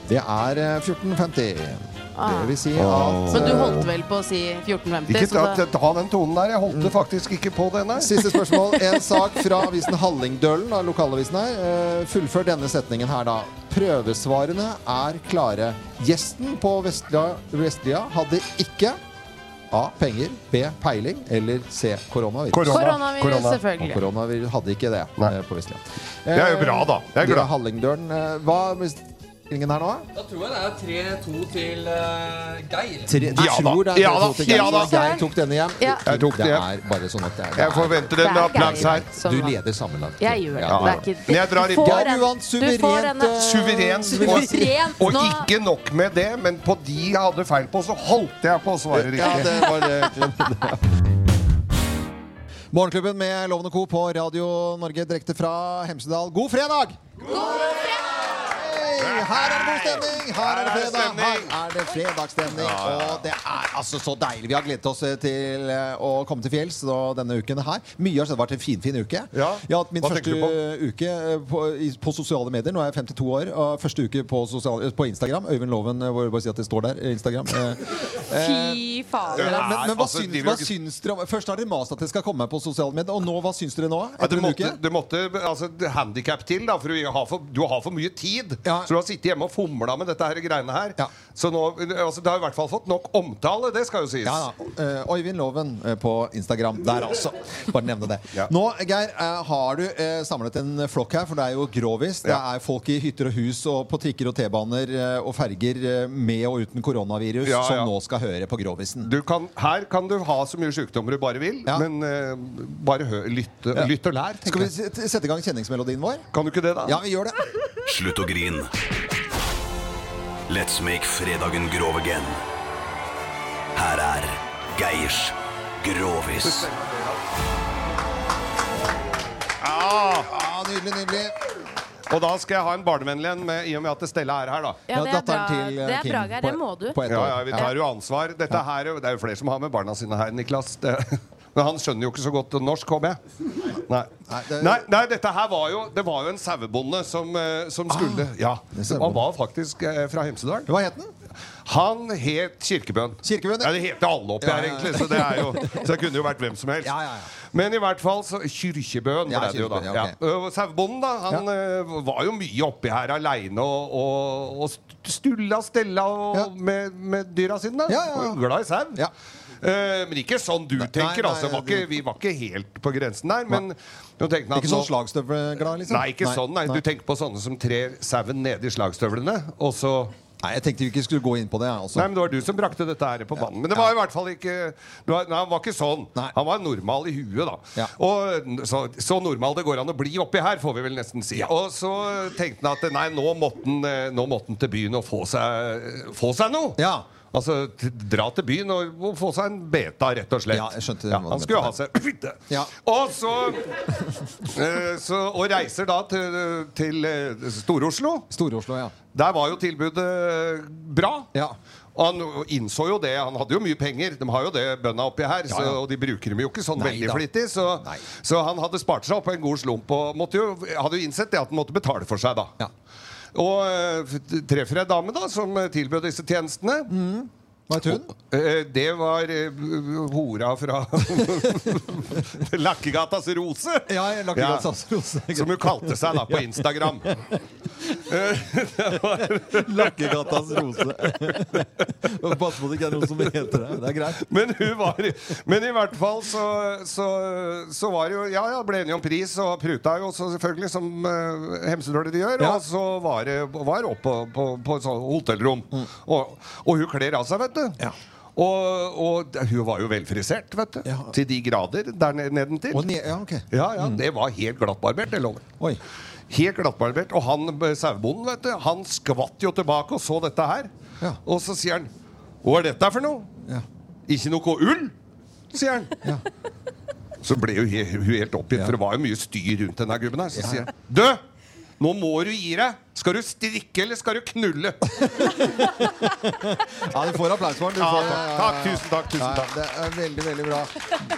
Det er eh, 1450.
Ah.
Det vil si at
Men du holdt
eh,
vel på å si 1450?
Ikke
så
ta-
da-
ta den tonen der. Jeg holdt det faktisk ikke på den der. Siste spørsmål. En sak fra avisen Hallingdølen, da, lokalavisen her. Eh, Fullfør denne setningen her, da. Prøvesvarene er klare. Gjesten på Vestlia, Vestlia hadde ikke A. Penger. B. Peiling. Eller C. Koronavirus.
Korona. Koronavirus, Korona. selvfølgelig.
Og koronavirus hadde ikke det eh, på Vestlia.
Det er jo bra, da. Jeg er
Det
glad.
Hallingdølen. eh, Hva er bestillingen her nå? da?
Da tror jeg det er 3-2 til eh, Geir.
Tre, du tror det er
ja
tre
da,
to til Geir,
ja da.
så Geir tok denne hjem.
Ja.
Jeg tok
det
det
er bare sånn at det er
Jeg forventer en
Det er
applaus
Geir
her.
Du
som vant.
leder sammenlagt.
Sånn Jeg gjør det.
Ja, ja.
det er ikke,
Men jeg drar
Du
inn.
får
Ja, du
den.
vant
Du får denne.
Suverent.
Suverent
Og, og
nå.
ikke nok med det, men på de jeg hadde feil på, så holdt jeg på å svare riktig.
Ja, det var [LAUGHS] Morgenklubben med Lovende Co. på Radio Norge direkte fra Hemsedal. God fredag! Hei, Her er det god stemning! Her er det fredag! Her er det fredagsstemning.
Ja, ja, ja.
Og det er altså så deilig. Vi har gledet oss eh, til eh, å komme til fjells da, denne uken her. Mye har skjedd. Det har vært en finfin fin uke.
Ja,
Jeg har hatt min
hva
første
tenker du
uke eh, på, i, på sosiale medier. Nå er jeg 52 år. Og første uke på, sosial- på Instagram. Øyvind Loven, eh, hvor jeg bare si at det står der. eh, Instagram. Eh,
Fy fader.
Men, men, men hva,
altså,
syns,
de vil
hva
jo ikke-
syns dere om Først har dere mast at det skal komme på sosiale medier, og nå, hva syns dere nå?
Ja, det
Etter en
måtte,
uke?
det måtte altså, handikap til, da, for du har for, du har for mye tid. Så du har sittet hjemme og fomla med dette her greiene her. Så nå, altså, det har i hvert fall fått nok omtale, det skal jo sies.
Ja, da. Eh, Øyvind Loven eh, på Instagram der, altså. Bare nevne det. Nå, Geir, eh, har du eh, samlet en flokk her, for det er jo grovis. Det
Ja.
er folk i hytter og hus og på trikker og T-baner eh, og ferger eh, med og uten koronavirus
Ja,
som
ja.
nå skal høre på grovisen.
Du kan, her kan du ha så mye sykdommer du bare vil, men eh, bare hø, lytt,
Ja.
lytt og lær.
Skal vi s- sette i gang kjenningsmelodien vår?
Kan du ikke det, da?
Ja, vi
[LAUGHS]
gjør det.
Slutt å grin. Let's make fredagen grov again. Her er Geirs Grovis.
Ja, Ah, nydelig, nydelig.
Ah! Og da skal jeg ha en barnevennlig en, med, i og med at Stella er her, da.
Ja, det er bra.
eh,
Det er bra, Geir. Det må du.
ja, ja, vi tar jo ansvar. Dette her, det er jo flere som har med barna sine her, Niklas. Det, men han skjønner jo ikke så godt norsk, håper jeg. Nei. Nei, nei, dette her var jo Det var jo en sauebonde som, eh, som skulle Ja. Han var faktisk eh, fra Hemsedal.
Hva het han?
Han het Kirkebønn. ja. Det heter alle oppi
Ja,
her,
ja, ja.
egentlig. Så det er jo Så det kunne jo vært hvem som helst.
Ja, ja, ja.
Men i hvert fall så Kyrkjebøen
Ja,
ble det jo, da.
Kyrkjebøen,
Ja, Øh,
ja,
Og Sauebonden, da. Han eh, var jo mye oppi her aleine og, og, og st- stulla stella og, med, med dyra sine. da. Var jo Glad i sau. Eh, men ikke sånn du tenker.
nei,
altså, var
det-
ikke, vi var ikke helt på grensen der. Men nå tenkte han at
Ikke sånn
nå-
slagstøvleglad, liksom?
Nei, ikke sånn. Nei. Du tenker på sånne som trer sauen nedi slagstøvlene, og så
Nei, jeg tenkte vi ikke skulle gå inn på det. jeg, Altså.
Nei, men Det var du som brakte dette her på banen. Men det var i hvert fall ikke det var, nei, Han var ikke sånn. Han var normal i huet, da. Og n- så, så normal det går an å bli oppi her, får vi vel nesten si. Og så tenkte han at nei, nå måtte han, eh, nå måtte han til byen og få seg, få seg noe. Altså t- dra til byen og, og få seg en beta, rett og slett.
Ja, jeg skjønte hva
Ja,
du
han
mente
skulle
der.
ha seg Og så, eh, så Og reiser da til, til eh, Stor-Oslo.
Stor-Oslo, ja.
Der var jo tilbudet eh, bra. Og han innså jo det. Han hadde jo mye penger. De har jo det, bøndene oppi her.
Ja, ja.
Så, og de bruker dem jo ikke sånn
Nei
veldig
da.
flittig. Så, så han hadde spart seg opp en god slump og måtte jo, hadde jo innsett det at han måtte betale for seg, da. Og eh, treffer ei dame da som eh, tilbød disse tjenestene.
Hva het hun?
Det var eh, hora fra [LAUGHS] Lakkegatas Rose.
Ja, jeg lagde ja.
Ja.
Rose. [LAUGHS]
Som hun kalte seg da på Instagram.
Lakkegatas rose. Pass på det ikke er noe som heter det. Det er greit.
Men, hun var, men i hvert fall så, så, så var det jo Ja, ja, ble enige om pris og pruta jo også, selvfølgelig, som uh, hemsedølere gjør.
Ja.
Og så var det var opp på, på, på et sånt hotellrom.
Mm.
Og, og hun kler av seg, vet du. Og, og d- hun var jo velfrisert, vet du. Til de grader der ned- nedentil.
Og ne- ja, ok.
ja, ja, Det var helt glattbarbert, det lover
Oi.
Helt glattbarbert. Og han eh, sauebonden, vet du, han skvatt jo tilbake og så dette her. Og så sier han Hva er dette for noe? Ikke noe ull, sier han. Så ble jo he- hun helt oppgitt, for det var jo mye styr rundt denne gubben her. Så sier han Du! Nå må du gi deg! Skal du strikke, eller skal du
[LAUGHS] Ja,
knulle?
du får applaus for den. Du
Ja,
får- ja, ja,
takk.
ja.
Takk, tusen takk, tusen takk.
Det er veldig, veldig bra.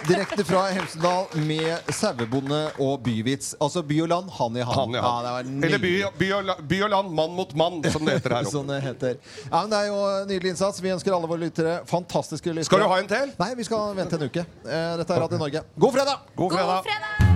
Direkte fra Hemsedal med sauebonde og byvits. Altså by og land, han i han.
Han i han.
Ja, det var
Eller by, by, og, la- by og land, mann mot mann, som det
[LAUGHS]
heter her oppe.
Sånn det heter. Ja, men det er jo Nydelig innsats. Vi ønsker alle våre lyttere fantastiske lyttere.
Skal du ha en til?
Nei, vi skal vente en uke. Eh, Dette er Radio Norge. God fredag!
God fredag!